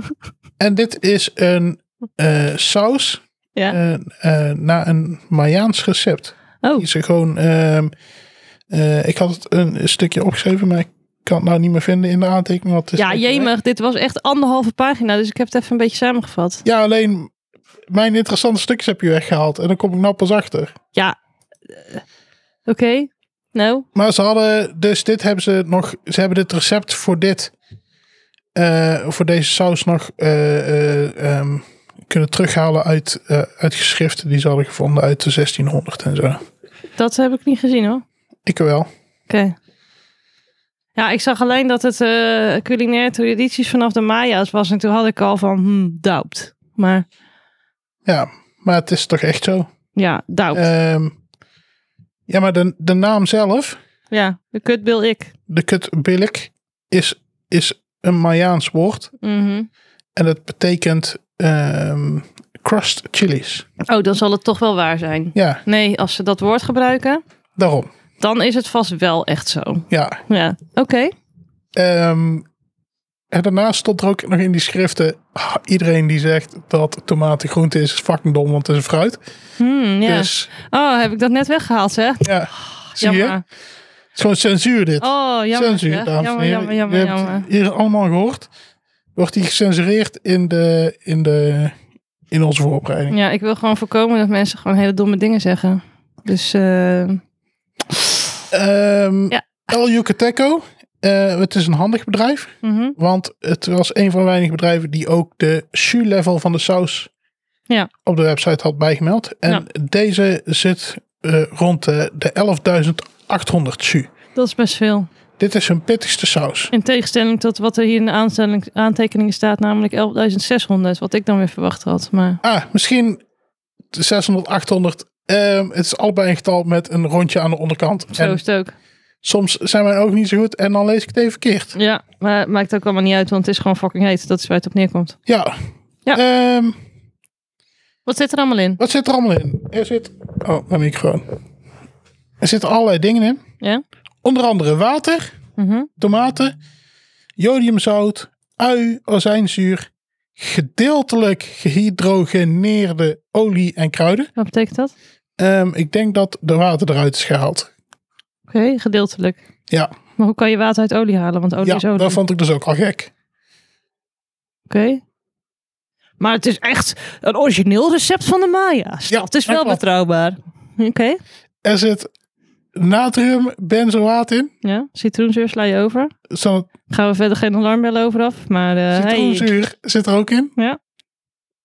en dit is een eh, saus Ja. eh, eh, naar een Mayaans recept. Oh, Die is er gewoon. ehm, eh, ik had het een stukje opgeschreven, maar ik kan het nou niet meer vinden in de aantekening. want het is ja, lekker weg. jemig. Dit was echt anderhalve pagina, dus ik heb het even een beetje samengevat. Ja, alleen mijn interessante stukjes heb je weggehaald. En dan kom ik nou pas achter. Ja, eh, oké. Nou, Maar ze hadden, dus dit hebben ze nog, ze hebben dit recept voor dit, eh, voor deze saus nog eh, eh, ehm, kunnen terughalen uit, eh, uit geschriften die ze hadden gevonden uit de 1600 en zo. dat heb ik niet gezien hoor. Ik wel. Oké. Ja, ik zag alleen dat het eh culinaire tradities vanaf de Maya's was. En toen had ik al van, hmm, doubt. Maar Ja, maar het is toch echt zo. ja, doubt. Ehm, ja, maar de, de naam zelf, ja, de kut wil ik. de kutbillik, is, is een Mayaans woord. Mhm. En dat betekent ehm crust chilies. Oh, dan zal het toch wel waar zijn. Ja, Nee, als ze dat woord gebruiken, daarom. dan is het vast wel echt zo. Ja, Ja, oké. Ehm, en daarnaast stond er ook nog in die schriften: ah, iedereen die zegt dat tomaten groente is, is fucking dom, want het is een fruit. Hmm, ja. Dus Oh, heb ik dat net weggehaald, zeg? ja, zie je? Het Jammer. is gewoon censuur dit. Oh, jammer. censuur, zeg. dames en jammer, heren. jammer, Je jammer, hebt jammer. het hier allemaal gehoord. Wordt die gecensureerd in, de, in, de, in onze vooropleiding? Ja, ik wil gewoon voorkomen dat mensen gewoon hele domme dingen zeggen. Dus eh, Ehm, Hm. Ja. El Yucateco. eh, het is een handig bedrijf, mhm. want het was een van de weinige bedrijven die ook de jus-level van de saus ja. op de website had bijgemeld. En deze zit eh, rond de, de 11.800 su. Dat is best veel. Dit is hun pittigste saus. In tegenstelling tot wat er hier in de aanstelling- aantekeningen staat, namelijk 11.600, wat ik dan weer verwacht had. Maar Ah, misschien de 600, 800. Ehm, het is allebei een getal met een rondje aan de onderkant. zo En is het ook. soms zijn mijn ook niet zo goed en dan lees ik het even verkeerd. Ja, maar het maakt ook allemaal niet uit, want het is gewoon fucking heet. Dat is waar het op neerkomt. Ja. Ja. Ehm, Wat zit er allemaal in? wat zit er allemaal in? Er zit... Oh, mijn microfoon. Er zitten allerlei dingen in. Ja? Onder andere water, Mhm. tomaten, jodiumzout, ui, azijnzuur, gedeeltelijk gehydrogeneerde olie en kruiden. Wat betekent dat? Ehm, ik denk dat de water eruit is gehaald. Oh, Oké, gedeeltelijk. Ja, Maar hoe kan je water uit olie halen? Want olie ja is olie. dat vond ik dus ook al gek. Oké. Maar het is echt een origineel recept van de Maya's. Ja, het is dat wel klopt. betrouwbaar. Oké. Er zit natrium, benzoaat in. Ja, citroenzuur sla je over. Zo'n Gaan we verder geen alarmbel over af. Maar eh, hey. citroenzuur zit er ook in. Ja.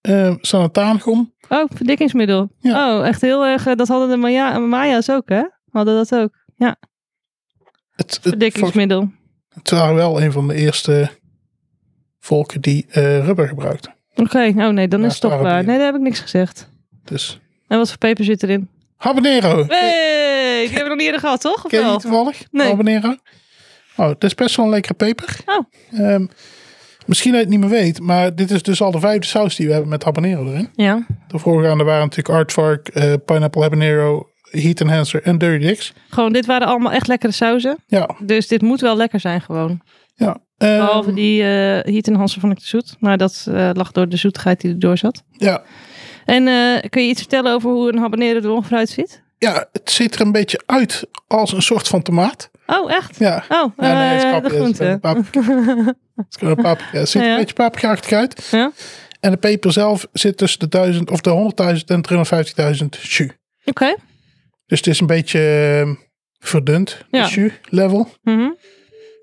Ehm Sanataangom. Oh, verdikkingsmiddel. Ja. Oh, echt heel erg. eh, Dat hadden de Maya, Maya's ook, hè? Hadden dat ook. Het, het, volgens- Verdikkingsmiddel. het waren wel een van de eerste volken die eh, rubber gebruikten. Oké, oh nee, dan Ja, is het toch waren waar. die- Nee, daar heb ik niks gezegd. Dus En wat voor peper zit erin? habanero. Hey, die hebben we nog niet eerder gehad, toch? Of Ken je wel? die toevallig? Nee. Abonneren? Oh, het is best wel een lekkere peper. Oh. Ehm, misschien dat je het niet meer weet, maar dit is dus al de vijfde saus die we hebben met habanero erin. Ja. De voorgaande waren natuurlijk aardvark, eh pineapple habanero, heat enhancer en dirty dicks. Gewoon, dit waren allemaal echt lekkere sauzen. Ja, Dus dit moet wel lekker zijn, gewoon. ja. Ehm, Behalve die eh Heat Hansen vond ik te zoet. Maar dat eh, lag door de zoetigheid die erdoor zat. ja, En eh, kun je iets vertellen over hoe een habanero er ongeveer uitziet? ja, het ziet er een beetje uit als een soort van tomaat. Oh, echt? Ja. Oh, Ja, Nou, nee, het is eh, grapje, het de is groente. een paprika. Het is gewoon een paprika. Het ziet er Ja. een beetje paprikaachtig uit. Ja? En de peper zelf zit tussen de 1000 of de 100.000 en 350.000 jus. Oké. Dus het is een beetje ehm, verdund, Ja. het jus level. Mhm.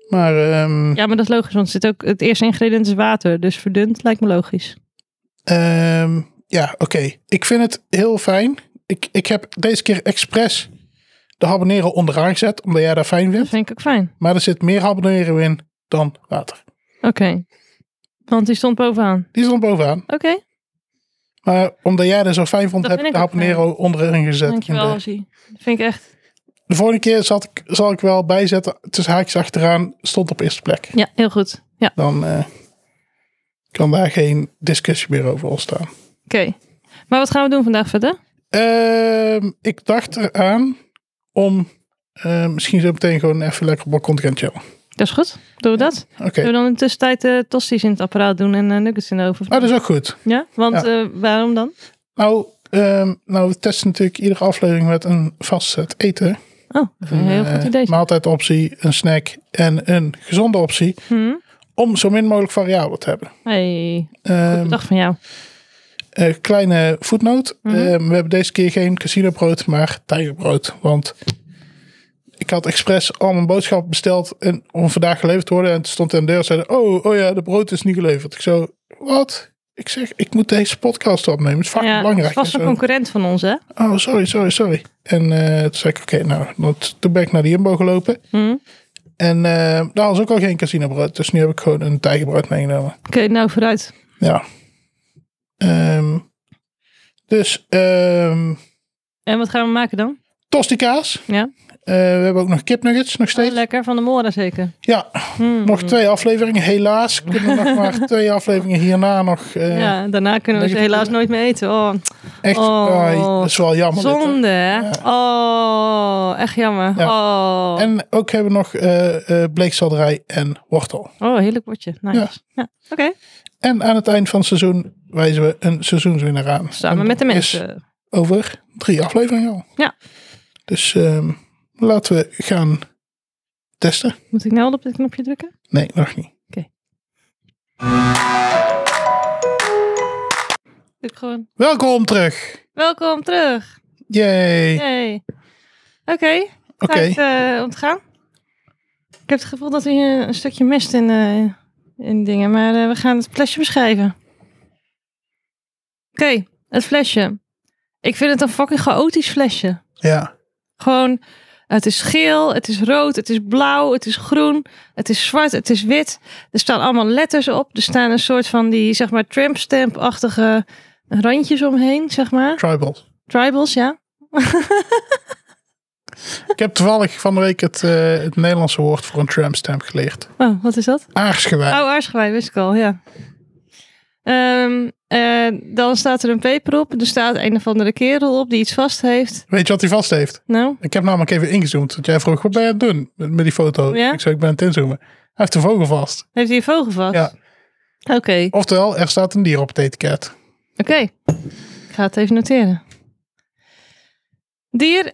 Maar ehm, Ja, maar dat is logisch, want er zit ook, het eerste ingrediënt is water. Dus verdund lijkt me logisch. ehm, ja, oké. Ik vind het heel fijn. Ik, ik heb deze keer expres de habanero onderaan gezet, omdat jij dat fijn Dat vindt. vind ik ook fijn. Maar er zit meer habanero in dan water. Oké. Want die stond bovenaan. Die stond bovenaan. Oké, Maar omdat jij dat zo fijn vond, Dat heb ik vind de ik ook habanero onderin gezet. dankjewel In de, Rosie. Dat vind ik echt... de volgende keer zal ik, zal ik wel bijzetten, tussen haakjes achteraan, stond op eerste plek. Ja, heel goed. Ja, Dan, eh, kan daar geen discussie meer over ontstaan. Maar wat gaan we doen vandaag verder? Ehm, ik dacht eraan om eh, misschien zo meteen gewoon even lekker op balkon te gaan chillen. Dat is goed. Doen we dat? Oké. Zullen we dan in de tussentijd eh tosti's in het apparaat doen en eh, nuggets in de oven? Nou, dat is ook goed. Ja? Want Ja. eh, waarom dan? Nou, ehm, nou, we testen natuurlijk iedere aflevering met een vast set eten. Oh, dat vind ik een heel Eh, goed idee. maaltijdoptie, een snack en een gezonde optie. Hm? Om zo min mogelijk variabelen te hebben. Hey, Ehm, dag van jou. eh, kleine voetnoot. Mhm. Ehm, we hebben deze keer geen casinobrood, maar tijgerbrood. Want ik had expres al mijn boodschap besteld en om vandaag geleverd te worden. En het stond aan de deur en zeiden, oh, oh ja, de brood is niet geleverd. Ik zo, wat? Ik zeg, ik moet deze podcast opnemen. Het is vaak Ja, belangrijk. vast En een zo, concurrent van ons, hè? oh, sorry, sorry, sorry. En eh, toen zei ik, oké, nou, dat, toen ben ik naar de Jumbo gelopen. Hm? Oké, En eh, daar was ook al geen casinobrood. Dus nu heb ik gewoon een tijgerbrood meegenomen. nou vooruit. Ja. Ehm, dus, ehm En wat gaan we maken dan? tostikaas. Ja. Eh, we hebben ook nog kipnuggets, nog steeds. Oh, lekker, van de Mora zeker. ja, Hm. nog twee afleveringen. Helaas kunnen nog [laughs] maar twee afleveringen hierna nog. eh, ja, daarna kunnen we dat ze je- helaas nooit meer eten. Oh, Echt, Oh. ai, dat is wel jammer. dit, hè. zonde, hè? Oh, echt jammer. Ja. Oh. En ook hebben we nog eh eh, bleekselderij en wortel. oh, heerlijk bordje. Nice. Ja. Ja. Oké, En aan het eind van het seizoen wijzen we een seizoenswinnaar aan. samen En met de dat mensen. is over drie afleveringen al. Ja. Dus ehm, laten we gaan testen. Moet ik nou al op dit knopje drukken? Nee, nog niet. Druk gewoon. Welkom terug. Welkom terug. Yay. Hey. Oké, Oké. tijd eh, om te gaan. Ik heb het gevoel dat hier een stukje mist in, eh, in dingen, maar eh, we gaan het flesje beschrijven. Oké, het flesje. Ik vind het een fucking chaotisch flesje. Ja. Gewoon, het is geel, het is rood, het is blauw, het is groen, het is zwart, het is wit. Er staan allemaal letters op. Er staan een soort van die, zeg maar, trampstamp-achtige randjes omheen, zeg maar. Tribal. Tribals, ja. Ik heb toevallig van de week het, eh, het Nederlandse woord voor een trampstamp geleerd. Oh, wat is dat? Aarsgewijn. Oh, aarsgewijn, wist ik al, ja. Ehm, eh, dan staat er een paper op. Er staat een of andere kerel op die iets vast heeft. Weet je wat hij vast heeft? Nou, Ik heb namelijk even ingezoomd. Want jij vroeg, wat ben je aan het doen met, met die foto? Ja. Ik zei, ik ben aan het inzoomen. Hij heeft een vogel vast. heeft hij een vogel vast? Ja. Oké, oké. Oftewel, er staat een dier op het etiket. Ik ga het even noteren. Dier,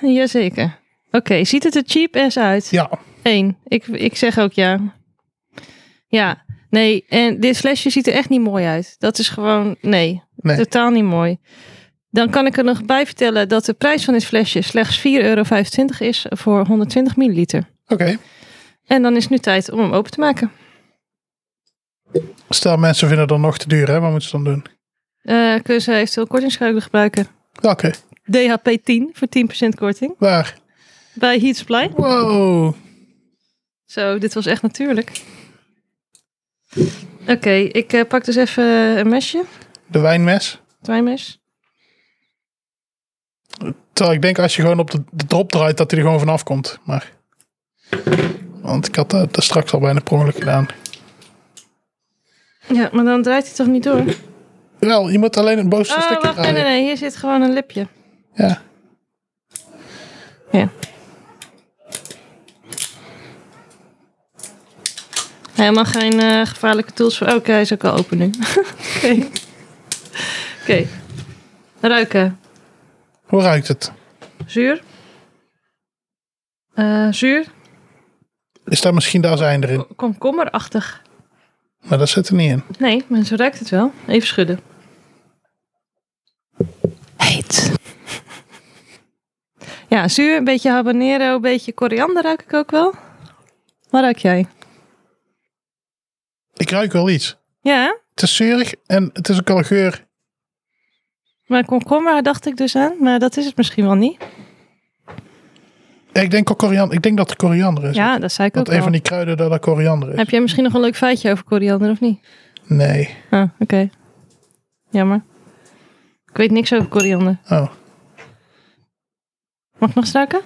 jazeker. Oké, ziet het er cheap ass uit? Ja. Eén. Ik, ik zeg ook ja. Ja. Nee, en dit flesje ziet er echt niet mooi uit. Dat is gewoon, nee, Nee. totaal niet mooi. Dan kan ik er nog bij vertellen dat de prijs van dit flesje slechts 4,25 euro is voor 120 milliliter. Oké. En dan is het nu tijd om hem open te maken. Stel, mensen vinden dat nog te duur, hè? Wat moeten ze dan doen? Eh kun je ze eventueel kortingscode gebruiken. Welke? DHP 10 voor 10% korting Waar? bij Heat Supply. Wow. Zo, dit was echt natuurlijk. Oké, ik eh, pak dus even een mesje, De wijnmes. het wijnmes. Terwijl ik denk, als je gewoon op de, de drop draait, dat hij er gewoon vanaf komt. Maar... Want ik had dat, dat straks al bijna per ongeluk gedaan. Ja, maar dan draait hij toch niet door? Wel, je moet alleen het bovenste Oh, stukje wacht, nee, draaien. nee, nee, hier zit gewoon een lipje. Ja. Ja. Helemaal geen eh, gevaarlijke tools voor... Oh, Oké, hij is ook al open nu. [laughs] Oké. Oké. Ruiken. Hoe ruikt het? Zuur. Eh, zuur. Is daar misschien de azijn erin? Komkommerachtig. Maar dat zit er niet in. Nee, maar zo ruikt het wel. Even schudden. Heet. Ja, zuur, een beetje habanero, een beetje koriander ruik ik ook wel. Wat ruik jij? Ik ruik wel iets. Ja, hè? Het is zuurig en het is ook al een geur. maar komkommer dacht ik dus aan, maar dat is het misschien wel niet. Ja, Ik denk, al koriander, ik denk dat er koriander is. Ja, dat zei ik Want Dus ook een al. van die kruiden dat er koriander is. Heb jij misschien nog een leuk feitje over koriander of niet? Nee. Ah, oké. Jammer. Ik weet niks over koriander. Oh. Mag ik nog struiken?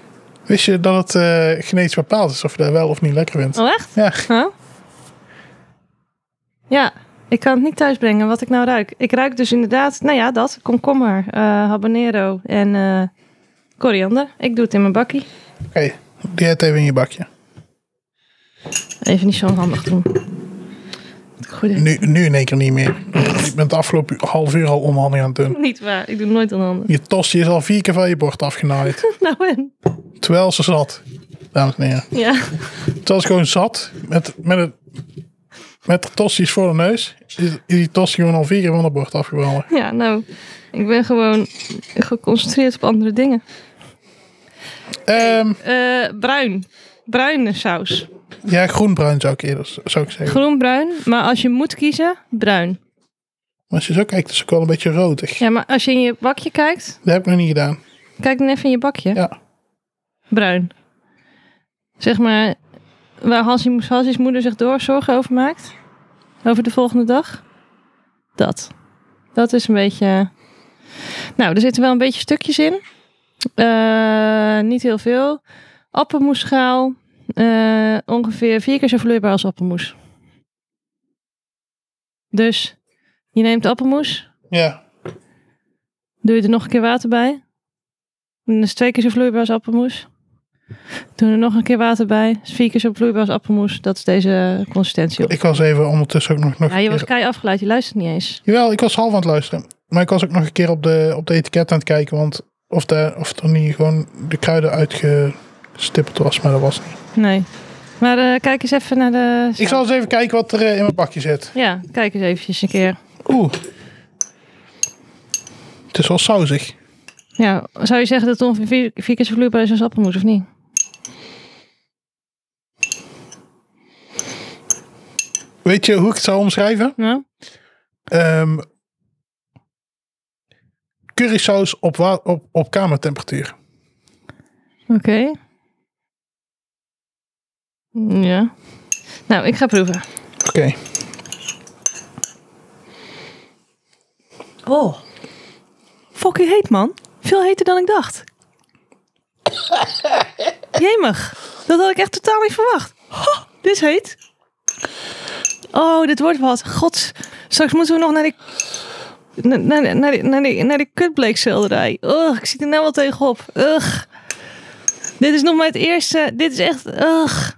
Wist je dat het eh, genetisch bepaald is of je daar wel of niet lekker vindt? Oh, echt? Ja. Huh? Ja, Ik kan het niet thuisbrengen wat ik nou ruik. Ik ruik dus inderdaad, nou ja, dat. Komkommer, eh, habanero en eh, koriander. Ik doe het in mijn bakkie. Oké, die het even in je bakje. Even niet zo handig doen. Het Goede. [laughs] Nu, nu in één keer niet meer. Ik ben het afgelopen half uur al onhandig aan het doen. Niet waar, ik doe het nooit onhandig. [laughs] Je tosje is al vier keer van je bord afgenaaid. Nou en? Terwijl ze zat. Dames en heren. Ja. Terwijl ze gewoon zat. Met, met, het, met de tosjes voor de neus. Is, is die tosje gewoon al vier keer van het bord afgevallen. ja, nou, ik ben gewoon geconcentreerd op andere dingen. Ehm, Eh, bruin. Bruine saus. ja, groenbruin zou ik eerder zou ik zeggen. Groenbruin, maar als je moet kiezen, bruin. Maar als je zo kijkt, is het ook wel een beetje rodig. Ja, maar als je in je bakje kijkt, Dat heb ik nog niet gedaan. kijk dan even in je bakje. Ja. Bruin. Zeg maar, waar Hansie, Hansie's moeder zich door zorgen over maakt. Over de volgende dag. Dat. Dat is een beetje... Nou, er zitten wel een beetje stukjes in. Eh, niet heel veel. Appelmoesschaal. eh, ongeveer vier keer zo vloeibaar als appelmoes. Dus je neemt appelmoes. Ja. Doe je er nog een keer water bij. Dan is het twee keer zo vloeibaar als appelmoes. Doe er nog een keer water bij. Is vier keer zo vloeibaar als appelmoes. Dat is deze consistentie. op. Ik was even ondertussen ook nog... nog Ja, je een was keer- kei afgeleid. Je luistert niet eens. Jawel, ik was half aan het luisteren. Maar ik was ook nog een keer op de, op de etiket aan het kijken. Want of, de, of er niet gewoon de kruiden uitgestippeld was. Maar dat was niet. Nee. Maar eh, kijk eens even naar de... Ik zal eens even kijken wat er eh, in mijn bakje zit. Ja, kijk eens eventjes een keer. Oeh. Het is wel sausig. Ja, zou je zeggen dat het ongeveer vier, vier keer zo vloeibaar is als appelmoes, of niet? Weet je hoe ik het zou omschrijven? Nou? Ehm currysaus op, wa- op, op kamertemperatuur. Oké. Ja. Nou, ik ga proeven. Oké. Oh. Fucking heet, man. Veel heter dan ik dacht. Jemig. Dat had ik echt totaal niet verwacht. Ho, dit is heet. Oh, dit wordt wat. Gods. Straks moeten we nog naar die... na- Naar, die- naar, die- naar, die, naar die kutbleekselderij. Ugh, ik zit er nou wel tegenop. Ugh. Dit is nog maar het eerste. Dit is echt... Ugh.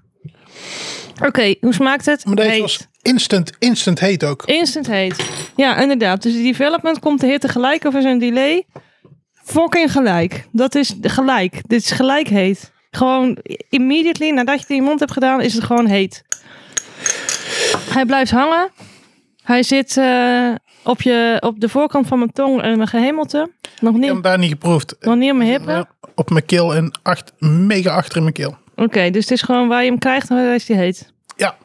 Oké, hoe smaakt het? Maar deze Heet. was instant, instant heet ook. Instant heet. Ja, inderdaad. Dus de development komt de hitte gelijk of is een delay fucking gelijk. Dat is gelijk. Dit is gelijk heet. Gewoon immediately nadat je het in je mond hebt gedaan, is het gewoon heet. Hij blijft hangen. Hij zit eh, op, je, op de voorkant van mijn tong en mijn gehemelte. Nog Ik heb niet, hem daar niet geproefd. nog niet op mijn hippen. Op mijn keel en acht, mega achter in mijn keel. Oké, dus het is gewoon waar je hem krijgt en waar is die heet. Ja.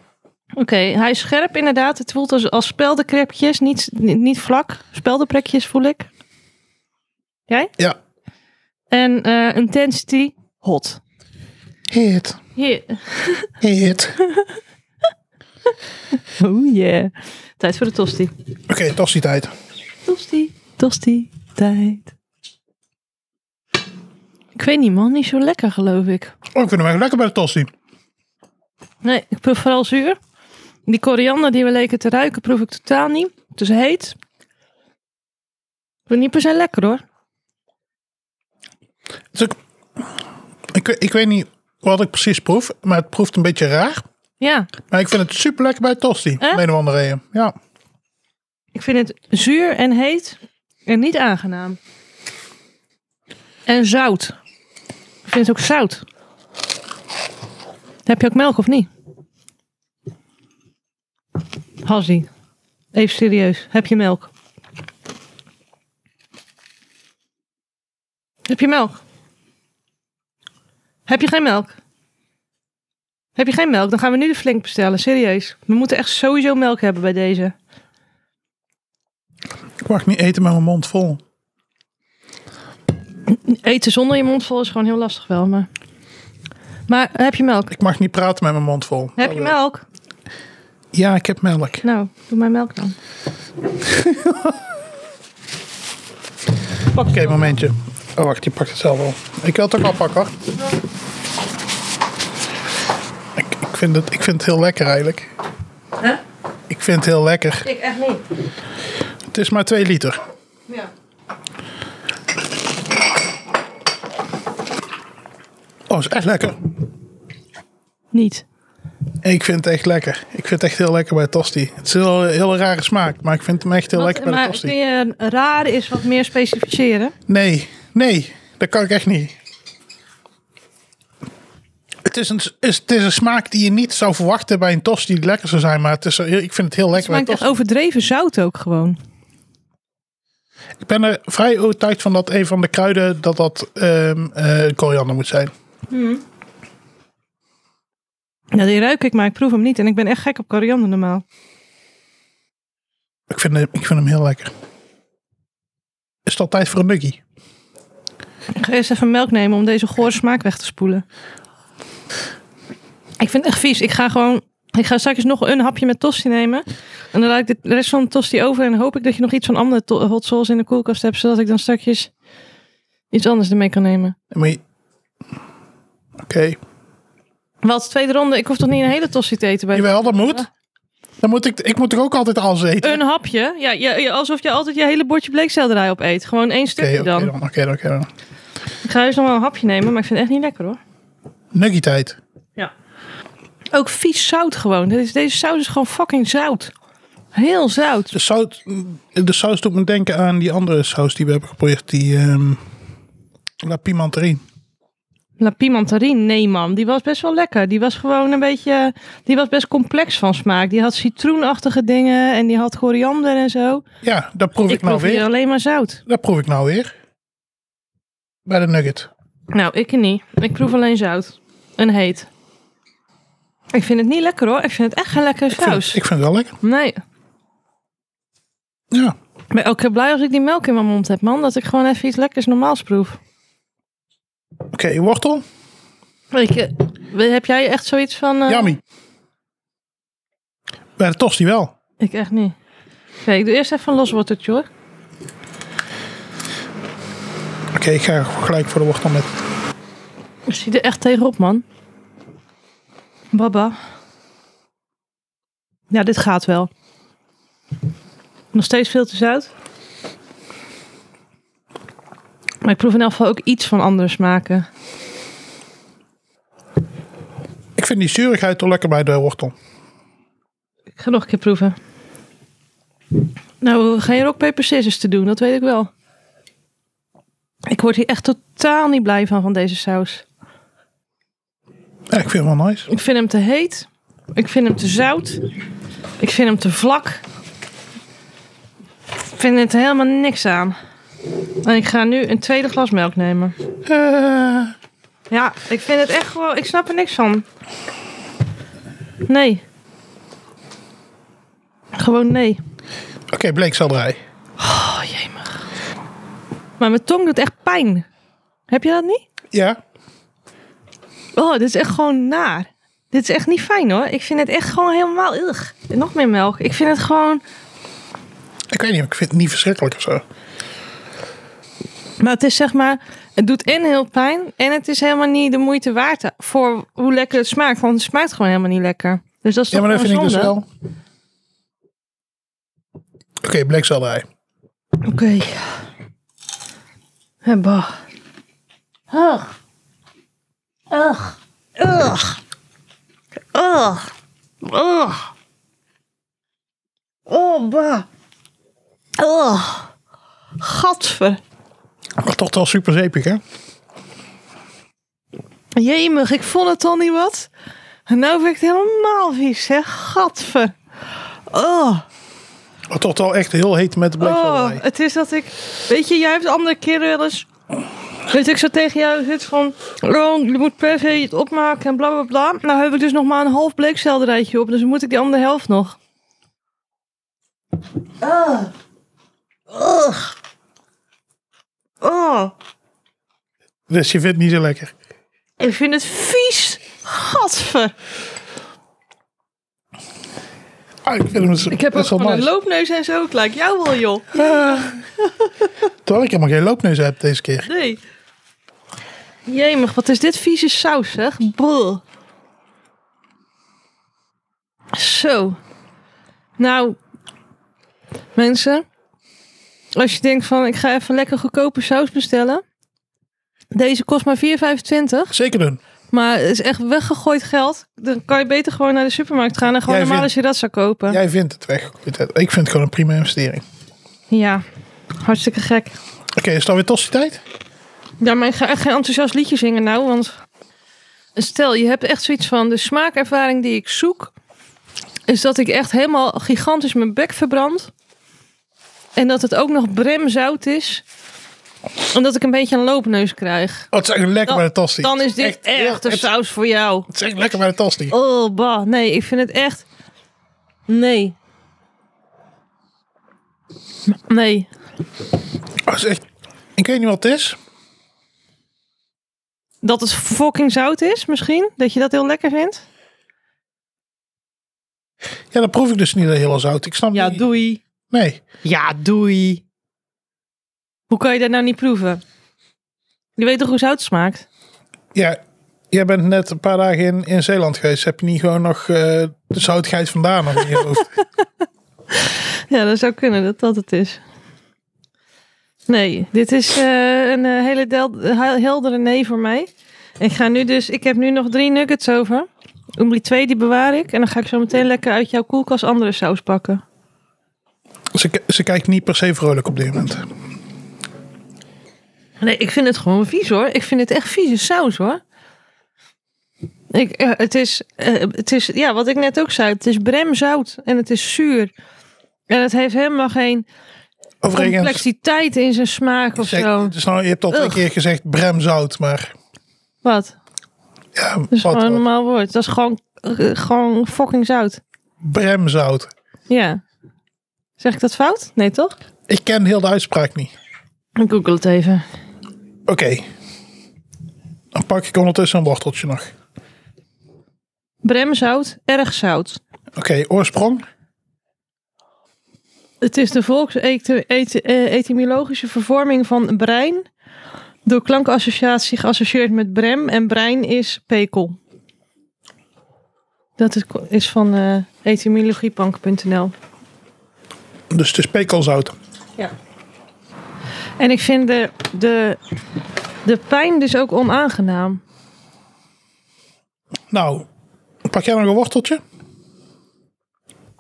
Oké, hij is scherp inderdaad. Het voelt als, als speldenkrepjes, niet, niet, niet vlak. Speldenprekjes voel ik. Jij? Ja. En eh, intensity, hot. Heet. Yeah. Heet. Oh yeah. Tijd voor de tosti. Oké, tossie tijd. Tosti, tosti, tijd. Ik weet niet man, niet zo lekker geloof ik. Oh, ik vind hem echt lekker bij de tossie. Nee, ik proef vooral zuur. Die koriander die we leken te ruiken, proef ik totaal niet. Het is heet. Ik vind het niet per se lekker hoor. Het is ook, Dus ik, ik weet niet wat ik precies proef, maar het proeft een beetje raar. Ja, Maar ik vind het super lekker bij Tosti. Eh? Om een of andere reden. Ja. ik vind het zuur en heet en niet aangenaam. En zout. Ik vind het ook zout. Heb je ook melk of niet? Hassie, even serieus. Heb je melk? Heb je melk? Heb je geen melk? Heb je geen melk? Dan gaan we nu de flink bestellen. Serieus. We moeten echt sowieso melk hebben bij deze. Ik mag niet eten met mijn mond vol. Eten zonder je mond vol is gewoon heel lastig wel, maar... Maar heb je melk? Ik mag niet praten met mijn mond vol. Heb je melk? Ja, ik heb melk. Nou, doe mij melk dan. Oké, momentje. Oh, wacht, die pakt het zelf wel. Ik wil het ook al pakken, hoor. Ik, ik, vind, het, ik vind het heel lekker, eigenlijk. Ik vind het heel lekker. Ik echt niet. Het is maar 2 liter. Ja. Oh, is echt lekker. Niet. Ik vind het echt lekker. Ik vind het echt heel lekker bij tosti. Het is een heel, heel rare smaak, maar ik vind hem echt heel Wat- lekker bij de maar tosti. kun je een rare is wat meer specificeren? Nee, nee, dat kan ik echt niet. Het is, een, is, het is een smaak die je niet zou verwachten bij een tosti die lekker zou zijn, maar het is, ik vind het heel lekker Het bij een smaakt echt tosti. overdreven zout ook gewoon. Ik ben er vrij overtuigd van dat een van de kruiden dat dat ehm, eh, koriander moet zijn. Nou, die ruik ik, maar ik proef hem niet. En ik ben echt gek op koriander normaal. Ik vind, hem- ik vind hem heel lekker. Is het al tijd voor een nuggie? Ik ga eerst even melk nemen om deze gore smaak weg te spoelen. Ik vind het echt vies. Ik ga gewoon. Ik ga straks nog een hapje met tosti nemen. En dan laat ik de rest van de tosti over. En hoop ik dat je nog iets van andere to- hot sauce in de koelkast hebt. Zodat ik dan straks iets anders ermee kan nemen. Maar je- Oké. Wat, tweede ronde? Ik hoef toch niet een hele tosti te eten bij Jawel, dat moet. Dan moet ik, ik moet er ook altijd alles eten. Een hapje? Ja, ja, ja, alsof je altijd je hele bordje bleekselderij opeet. Gewoon één Oké, stukje oké dan. dan. Oké, dan, oké dan. Ik ga dus nog wel een hapje nemen, maar ik vind het echt niet lekker hoor. Nuggie tijd. Ook vies zout gewoon. Dit is- Deze saus is gewoon fucking zout. Heel zout. De saus, de saus doet me denken aan die andere saus die we hebben geprobeerd. Die ehm La Pimenterie. La pimentarine, Nou, nee man, die was best wel lekker. Die was gewoon een beetje, die was best complex van smaak. Die had citroenachtige dingen en die had koriander en zo. Ja, dat proef ik, ik nou proef hier weer. alleen maar zout. Dat proef ik nou weer. Bij de nugget. Nou, ik niet. Ik proef alleen zout. En heet. Ik vind het niet lekker hoor. Ik vind het echt geen lekkere Ik vind, saus. ik vind het wel lekker. Nee. Ja. Ik ben ook heel blij als ik die melk in mijn mond heb, man. Dat ik gewoon even iets lekkers normaals proef. Oké, wortel. Weet je, heb jij echt zoiets van... eh, Yummy. Bij de tosti wel. Ik echt niet. Oké, ik doe eerst even een los worteltje hoor. Oké, ik ga gelijk voor de wortel met. Ik zie er echt tegenop, man. Baba. Ja, dit gaat wel. Nog steeds veel te zout. Maar ik proef in elk geval ook iets van andere smaken. Ik vind die zuurigheid toch lekker bij de wortel. Ik ga nog een keer proeven. Nou, we hoeven geen rock, paper, scissors te doen, dat weet ik wel. Ik word hier echt totaal niet blij van, van deze saus. Ja, ik vind hem wel nice. Ik vind hem te heet. Ik vind hem te zout. Ik vind hem te vlak. Ik vind het helemaal niks aan. En ik ga nu een tweede glas melk nemen. Eh, Ja, ik vind het echt gewoon... Ik snap er niks van. Nee. Gewoon nee. Oké, bleekselderij. Oh, jemig. Maar mijn tong doet echt pijn. Heb je dat niet? Ja, Oh, dit is echt gewoon naar. Dit is echt niet fijn hoor. Ik vind het echt gewoon helemaal ugh. Nog meer melk. Ik vind het gewoon. ik weet niet. Ik vind het niet verschrikkelijk of zo. Maar het is zeg maar. Het doet en heel pijn. En het is helemaal niet de moeite waard voor hoe lekker het smaakt. Want het smaakt gewoon helemaal niet lekker. Dus dat is Ja, toch maar dat vind gewoon ik dus zonde? wel. Oké, bleekselderij. Oké. En bah. Ugh. Ugh. Ugh. Ugh. Ugh. Oh, bah. Ugh. Gadver. Maar toch wel super zeepig, hè? Jemig, ik vond het al niet wat. En nou vind ik het helemaal vies, hè. Gadver. Oh. Maar toch wel echt heel heet met de Oh, bleekselderij. het is dat ik. Weet je, jij hebt andere keren wel eens. Weet ik zo tegen jou zit van. Oh, je moet per se het opmaken en bla bla bla. Nou heb ik dus nog maar een half bleekselderijtje op, dus moet ik die andere helft nog. Ah. Oh. Oh. Dus je vindt het niet zo lekker. Ik vind het vies. Gadver. Ah, ik vind hem zo- Ik heb ook best wel gewoon een nice. loopneus en zo. Ik lijk jou wel, joh. Terwijl ik helemaal geen loopneus heb deze keer. Nee. Jemig, wat is dit vieze saus, zeg. Brr. Zo. Nou, mensen, als je denkt van ik ga even lekker goedkope saus bestellen. Deze kost maar 4,25. Zeker doen. Maar het is echt weggegooid geld. Dan kan je beter gewoon naar de supermarkt gaan en gewoon Jij normaal vindt- als je dat zou kopen. Jij vindt het weg. Ik vind het gewoon een prima investering. Ja, hartstikke gek. Oké, is het alweer tossie tijd? Ja, maar ik ga echt geen enthousiast liedje zingen nou, want stel je hebt echt zoiets van de smaakervaring die ik zoek, is dat ik echt helemaal gigantisch mijn bek verbrand en dat het ook nog bremzout is en dat ik een beetje een loopneus krijg. Oh, het is echt lekker bij de tossie. Dan is dit echt, de het, saus voor jou. het is echt lekker bij de tossie. Oh, bah, nee, ik vind het echt, nee, nee. Oh, het is echt... Ik weet niet wat het is. Dat het fucking zout is, misschien? Dat je dat heel lekker vindt? Ja, dat proef ik dus niet dat hele zout. Ik snap Ja, niet. doei. Nee. Ja, doei. Hoe kan je dat nou niet proeven? Je weet toch hoe zout smaakt? Ja, jij bent net een paar dagen in, in Zeeland geweest. Heb je niet gewoon nog eh, de zoutigheid vandaan nog in je [laughs] hoofd? Ja, dat zou kunnen dat dat het is. Nee, dit is eh, een eh, hele del- he- heldere nee voor mij. Ik ga nu dus, ik heb nu nog drie nuggets over. Om die twee die bewaar ik. En dan ga ik zo meteen lekker uit jouw koelkast andere saus pakken. Ze, k- ze kijkt niet per se vrolijk op dit moment. Nee, ik vind het gewoon vies hoor. Ik vind het echt vieze saus hoor. Ik, eh, het, is, eh, het is, ja, wat ik net ook zei, het is bremzout en het is zuur. En het heeft helemaal geen Overigens, complexiteit in zijn smaak of zeg- zo. dus nou, je hebt al twee Ugh. keer gezegd bremzout, maar Wat? ja, Dat is wat, gewoon een wat? normaal woord. Dat is gewoon, eh, gewoon fucking zout. bremzout. Ja. Zeg ik dat fout? Nee, toch? Ik ken heel de uitspraak niet. Ik google het even. Oké. Dan pak ik ondertussen een worteltje nog. Bremzout, erg zout. Oké, oorsprong. Het is de volksetymologische eh, vervorming van brein. Door klankassociatie geassocieerd met brem. En brein is pekel. Dat is- is van eh etymologiebank.nl. Dus het is pekelzout. En ik vind de, de, de pijn dus ook onaangenaam. Nou, pak jij nog een worteltje?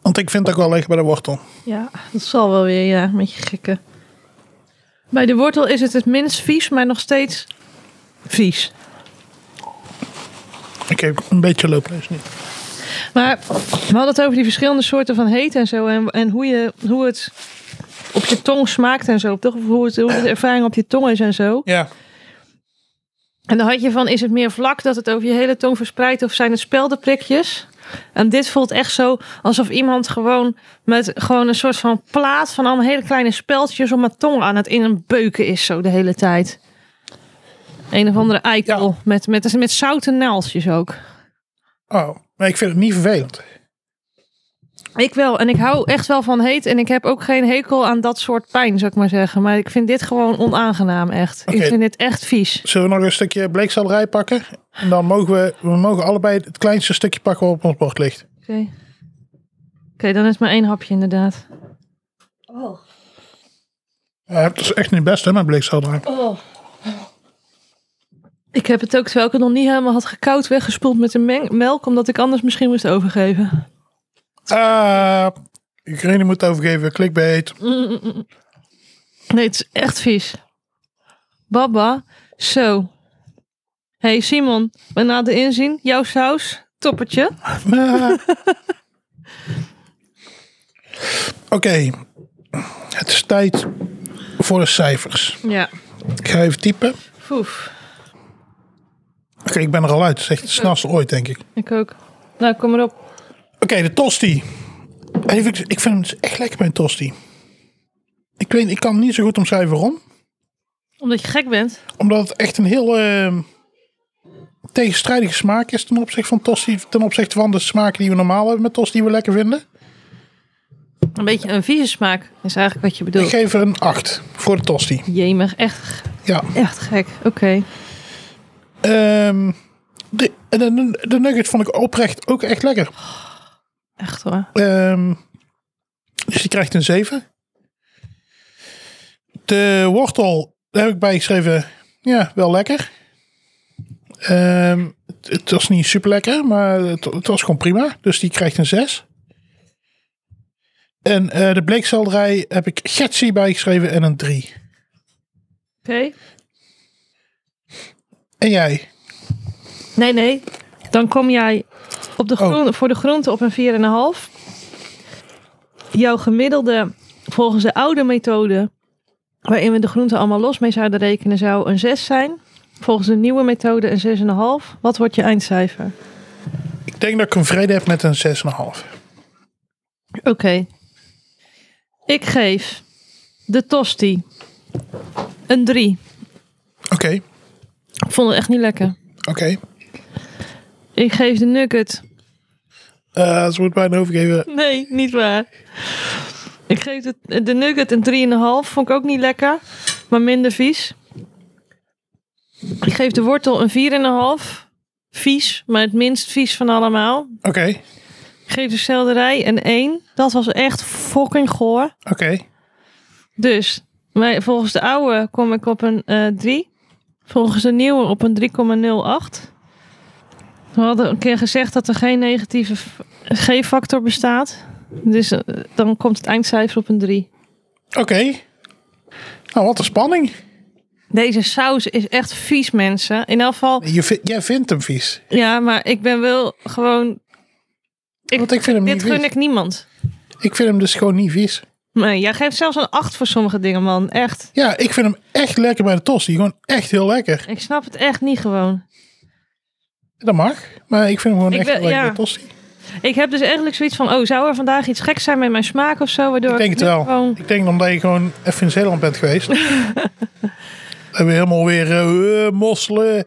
Want ik vind dat ik wel leeg bij de wortel. Ja, dat zal wel weer, ja, met je gekke. Bij de wortel is het het minst vies, maar nog steeds vies. Ik heb een beetje loopneus nu. Maar we hadden het over die verschillende soorten van heet en zo. En, en hoe, je, hoe het op je tong smaakt en zo. Toch? Of hoe, het, hoe de ervaring op je tong is en zo. Ja. En dan had je van, is het meer vlak dat het over je hele tong verspreidt? Of zijn het speldenprikjes? En dit voelt echt zo alsof iemand gewoon met gewoon een soort van plaat van allemaal hele kleine speldjes om mijn tong aan het in een beuken is zo de hele tijd. Een of andere eikel met, met, met zouten naaldjes ook. Oh, maar ik vind het niet vervelend. Ik wel. En ik hou echt wel van heet. En ik heb ook geen hekel aan dat soort pijn, zou ik maar zeggen. Maar ik vind dit gewoon onaangenaam, echt. Ik Oké. vind dit echt vies. Zullen we nog een stukje bleekselderij pakken? En dan mogen we, we mogen allebei het kleinste stukje pakken wat op ons bord ligt. Oké. Oké, dan is maar één hapje inderdaad. Ja, dat Eh, is echt niet best hè, met bleekselderij. Oh. Ik heb het ook, terwijl ik het nog niet helemaal had gekoud, weggespoeld met de meng- melk. Omdat ik anders misschien moest overgeven. Ah, Green moet overgeven, clickbait. [laughs] Nee, het is echt vies. Baba, zo. hey Simon, we na de inzien, jouw saus, toppertje. Ah. Oké, het is tijd voor de cijfers. Ja, Ik ga even typen. Oké, foef. ik ben er al uit. Het is echt het snelste ooit, denk ik. Ik ook. Nou, kom maar op. Oké, de tosti. Even, ik vind hem dus echt lekker bij een tosti. Ik, weet, ik kan niet zo goed omschrijven waarom. Omdat je gek bent. Omdat het echt een heel eh, tegenstrijdige smaak is ten opzichte van tosti. Ten opzichte van de smaken die we normaal hebben met tosti die we lekker vinden. Een beetje een vieze smaak is eigenlijk wat je Ik bedoelt. geef er een 8 voor de tosti. Jemig, echt, Ja. echt gek. Oké. Ehm, de, de, de nugget vond ik oprecht ook echt lekker. Echt hoor. Ehm, Dus die krijgt een 7. De wortel, daar heb ik bij geschreven, ja, wel lekker. Ehm, het, het was niet super lekker, maar het, het was gewoon prima. Dus die krijgt een 6. En eh, de bleekselderij heb ik Getsi bijgeschreven en een 3. En jij? Nee, nee. Dan kom jij op de groen, voor de groente op een 4,5. Jouw gemiddelde, volgens de oude methode, waarin we de groenten allemaal los mee zouden rekenen, zou een 6 zijn. Volgens de nieuwe methode een 6,5. Wat wordt je eindcijfer? Ik denk dat ik een vrede heb met een 6,5. Oké. Ik geef de tosti een 3. Oké, Ik vond het echt niet lekker. oké. Ik geef de nugget Eh, ze moet bijna overgeven. Nee, niet waar. Ik geef de, de nugget een 3,5. Vond ik ook niet lekker, maar minder vies. Ik geef de wortel een 4,5. Vies, maar het minst vies van allemaal. Oké, Ik geef de selderij een 1. Dat was echt fucking goor. oké. Dus wij, volgens de oude kom ik op een eh 3. Volgens de nieuwe op een 3,08. We hadden een keer gezegd dat er geen negatieve f- G-factor bestaat. Dus eh, dan komt het eindcijfer op een 3. Oké. Nou, wat een spanning. Deze saus is echt vies, mensen. In elk geval, Je vi- jij vindt hem vies. ja, maar ik ben wel gewoon. Ik- Want ik vind hem Dit niet vies. gun ik niemand. Ik vind hem dus gewoon niet vies. Nee, jij geeft zelfs een 8 voor sommige dingen, man. Echt. Ja, ik vind hem echt lekker bij de tosti. Gewoon echt heel lekker. Ik snap het echt niet gewoon. Dat mag. Maar ik vind hem gewoon Ik echt wil- heel lekker ja. bij de tosti. Ik heb dus eigenlijk zoiets van: oh, zou er vandaag iets geks zijn met mijn smaak of zo? Waardoor Ik denk het nu wel. gewoon- Ik denk omdat je gewoon even in Zeeland bent [laughs] geweest. Dan hebben we helemaal weer eh, eh, mosselen.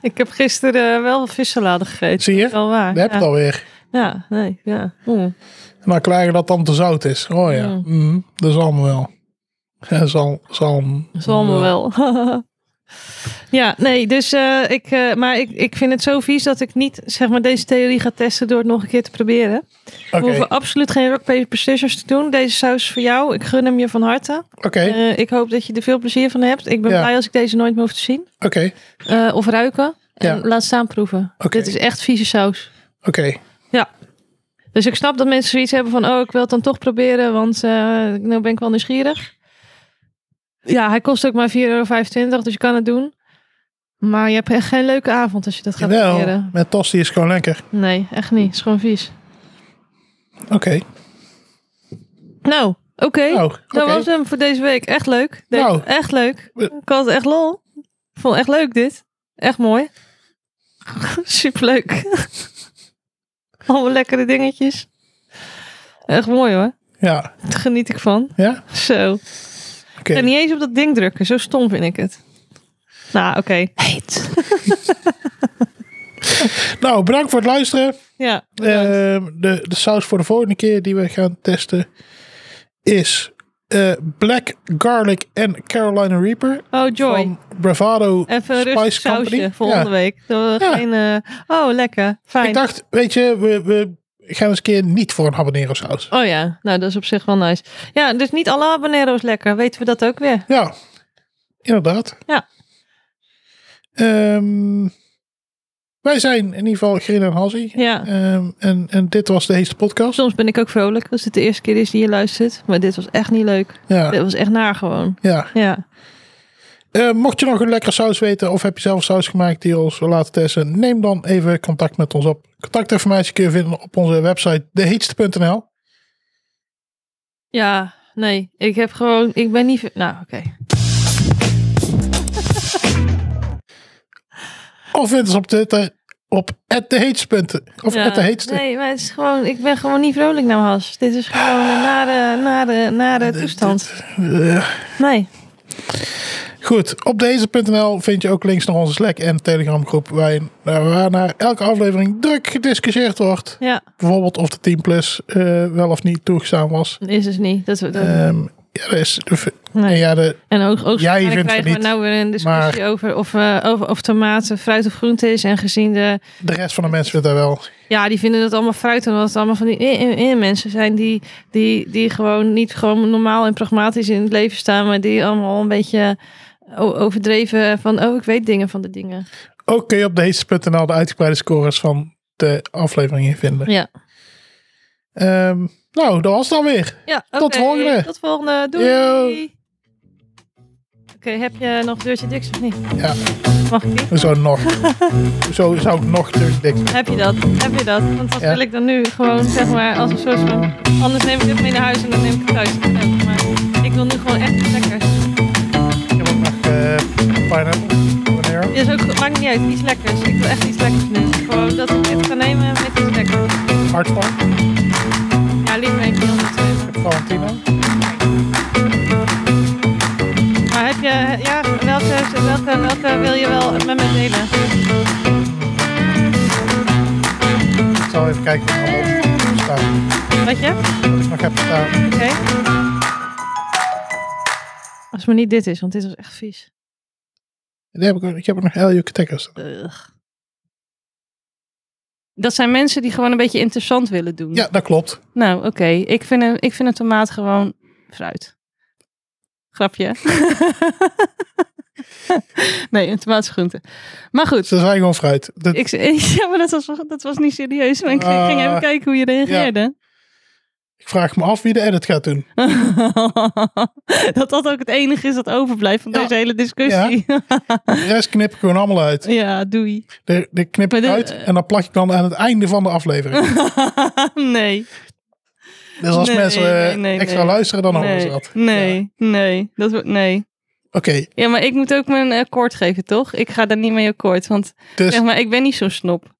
Ik heb gisteren eh, wel vissalade gegeten. Zie je? Dat is Wel waar. Daar heb je ja. het Hmm. alweer. ja, nee, ja. Oeh. En dan klagen dat dan te zout is. Oh ja, Ja. mhm, dat is allemaal wel. Ja, zal, zal, Dat is allemaal wel. [laughs] ja, nee, dus eh, ik, eh, maar ik, ik vind het zo vies dat ik niet zeg maar deze theorie ga testen door het nog een keer te proberen. Oké, We hoeven absoluut geen rock, paper, scissors te doen. Deze saus is voor jou. Ik gun hem je van harte. oké, Eh, ik hoop dat je er veel plezier van hebt. Ik ben Ja. blij als ik deze nooit meer hoef te zien. oké, Eh, of ruiken. En Ja. laat staan proeven. Oké. Dit is echt vieze saus. oké. Dus ik snap dat mensen zoiets hebben van, oh, ik wil het dan toch proberen, want eh nou ben ik wel nieuwsgierig. Ja, hij kost ook maar 4,25 euro, dus je kan het doen. Maar je hebt echt geen leuke avond als je dat gaat Jawel, proberen. Nou, met tosti is gewoon lekker. Nee, echt niet. Het is gewoon vies. Oké. Nou, oké. Nou, oké. Dat was hem voor deze week. Echt leuk. Deze- Nou. Echt leuk. Eh. Ik had echt lol. Ik vond het echt leuk dit. Echt mooi. [laughs] Superleuk. [laughs] Allemaal lekkere dingetjes. Echt mooi hoor. Ja, Daar geniet ik van. ja? Zo. Ik Oké. kan niet eens op dat ding drukken. Zo stom vind ik het. Nou, oké. Nou, bedankt voor het luisteren. [laughs] Ja. bedankt. Ehm, de, de saus voor de volgende keer die we gaan testen is eh, Black Garlic en Carolina Reaper oh, Joy. van Bravado Even een rustig Spice sausje Company. volgende Ja. week. Dat we Ja. geen, eh, oh, lekker. Fijn. Ik dacht, weet je, we, we gaan eens een keer niet voor een habanero saus. Oh ja, nou dat is op zich wel nice. Ja, dus niet alle habanero's lekker. Weten we dat ook weer? Ja, inderdaad. Ja. Ehm, wij zijn in ieder geval Grin en Hassie. Ja. Ehm, en, en dit was de heetste podcast. Soms ben ik ook vrolijk als het de eerste keer is die je luistert. Maar dit was echt niet leuk. Dit Ja, was echt naar gewoon. ja. Ja. Eh, mocht je nog een lekkere saus weten of heb je zelf saus gemaakt die je ons wil laten testen, neem dan even contact met ons op. Contactinformatie kun je vinden op onze website deheetste.nl. Ja, nee. Ik heb gewoon... Ik ben niet... Nou, oké. Of vind ons op Twitter op deheetste. Of [laughs] Ja, deheetste. Nee, maar het is gewoon... Ik ben gewoon niet vrolijk naar Has. Dit is gewoon een nare, nare, nare toestand. Nee. Eh, Goed, op deheetste.nl vind je ook links naar onze Slack en Telegram groep waarin, eh, waar naar elke aflevering druk gediscussieerd wordt. Ja, Bijvoorbeeld of de 10 plus eh, wel of niet toegestaan was. is dus niet. Dat, we- dat, Ehm, Ja, dat is. Nee. Ja, de, En ook, ook Jij waarschijnlijk vindt krijgen het we niet, nou weer een discussie over, of, eh, over of tomaten fruit of groente is. En gezien de... de rest van de mensen vindt dat wel. Ja, die vinden het allemaal fruit. Omdat het allemaal van die eh, eh, eh, mensen zijn die, die, die gewoon niet gewoon normaal en pragmatisch in het leven staan. Maar die allemaal een beetje o- overdreven van... Oh, ik weet dingen van de dingen. Ook kun je op deze.nl de uitgebreide scores van de afleveringen vinden. Ja. Ehm, nou, dat was het dan weer. ja Tot oké, volgende. Tot volgende. Doei. Yo. Oké, heb je nog deurtje diks of niet? Ja, Mag ik die? [laughs] zo nog. zo zou ik nog terug denken. Heb je dat? Heb je dat? Want wat Ja. wil ik dan nu? Gewoon zeg maar als een soort van... Anders neem ik dit mee naar huis en dan neem ik het thuis. Maar ik wil nu gewoon echt lekker. Ik heb ook nog eh, pineapple. Wanneer? Is ook, maakt niet uit, iets lekkers. Ik wil echt iets lekkers nu. Gewoon dat ik dit kan nemen met iets lekkers. Hart van. Ja, liever even niet anders. eh, Valentino. Maar heb je... Ja, welke, welke, welke wil je wel met me delen? Ik zal even kijken wat er allemaal op staat. Wat je? Wat ik nog heb staan. Oké. Als het maar niet dit is, want dit was echt vies. Die heb ik, ook- ik heb ook nog Elio Katekkers staan. Ugh. Dat zijn mensen die gewoon een beetje interessant willen doen. Ja, dat klopt. Nou, oké. Ik, vind een, ik vind een tomaat gewoon fruit. Grapje. [laughs] nee, een tomaat is groente. Maar goed. Ze zijn gewoon fruit. Dat- Ik, [laughs] ja, maar dat was, dat was niet serieus. Maar ik Ah. ging even kijken hoe je reageerde. ik vraag me af wie de edit gaat doen. [laughs] dat dat ook het enige is dat overblijft van Ja. deze hele discussie. [laughs] Ja, De rest knip ik gewoon allemaal uit. doei. De, de knip Maar ik de- uit en dan plak ik dan aan het einde van de aflevering. [laughs] nee. Dus als Nee, mensen eh, nee, nee, extra nee. luisteren, dan horen ze Nee, dat. Ja. nee, nee, dat wordt nee. Oké, eh, Ja, maar ik moet ook mijn akkoord geven, toch? Ik ga daar niet mee akkoord, want dus zeg maar, ik ben niet zo'n snop.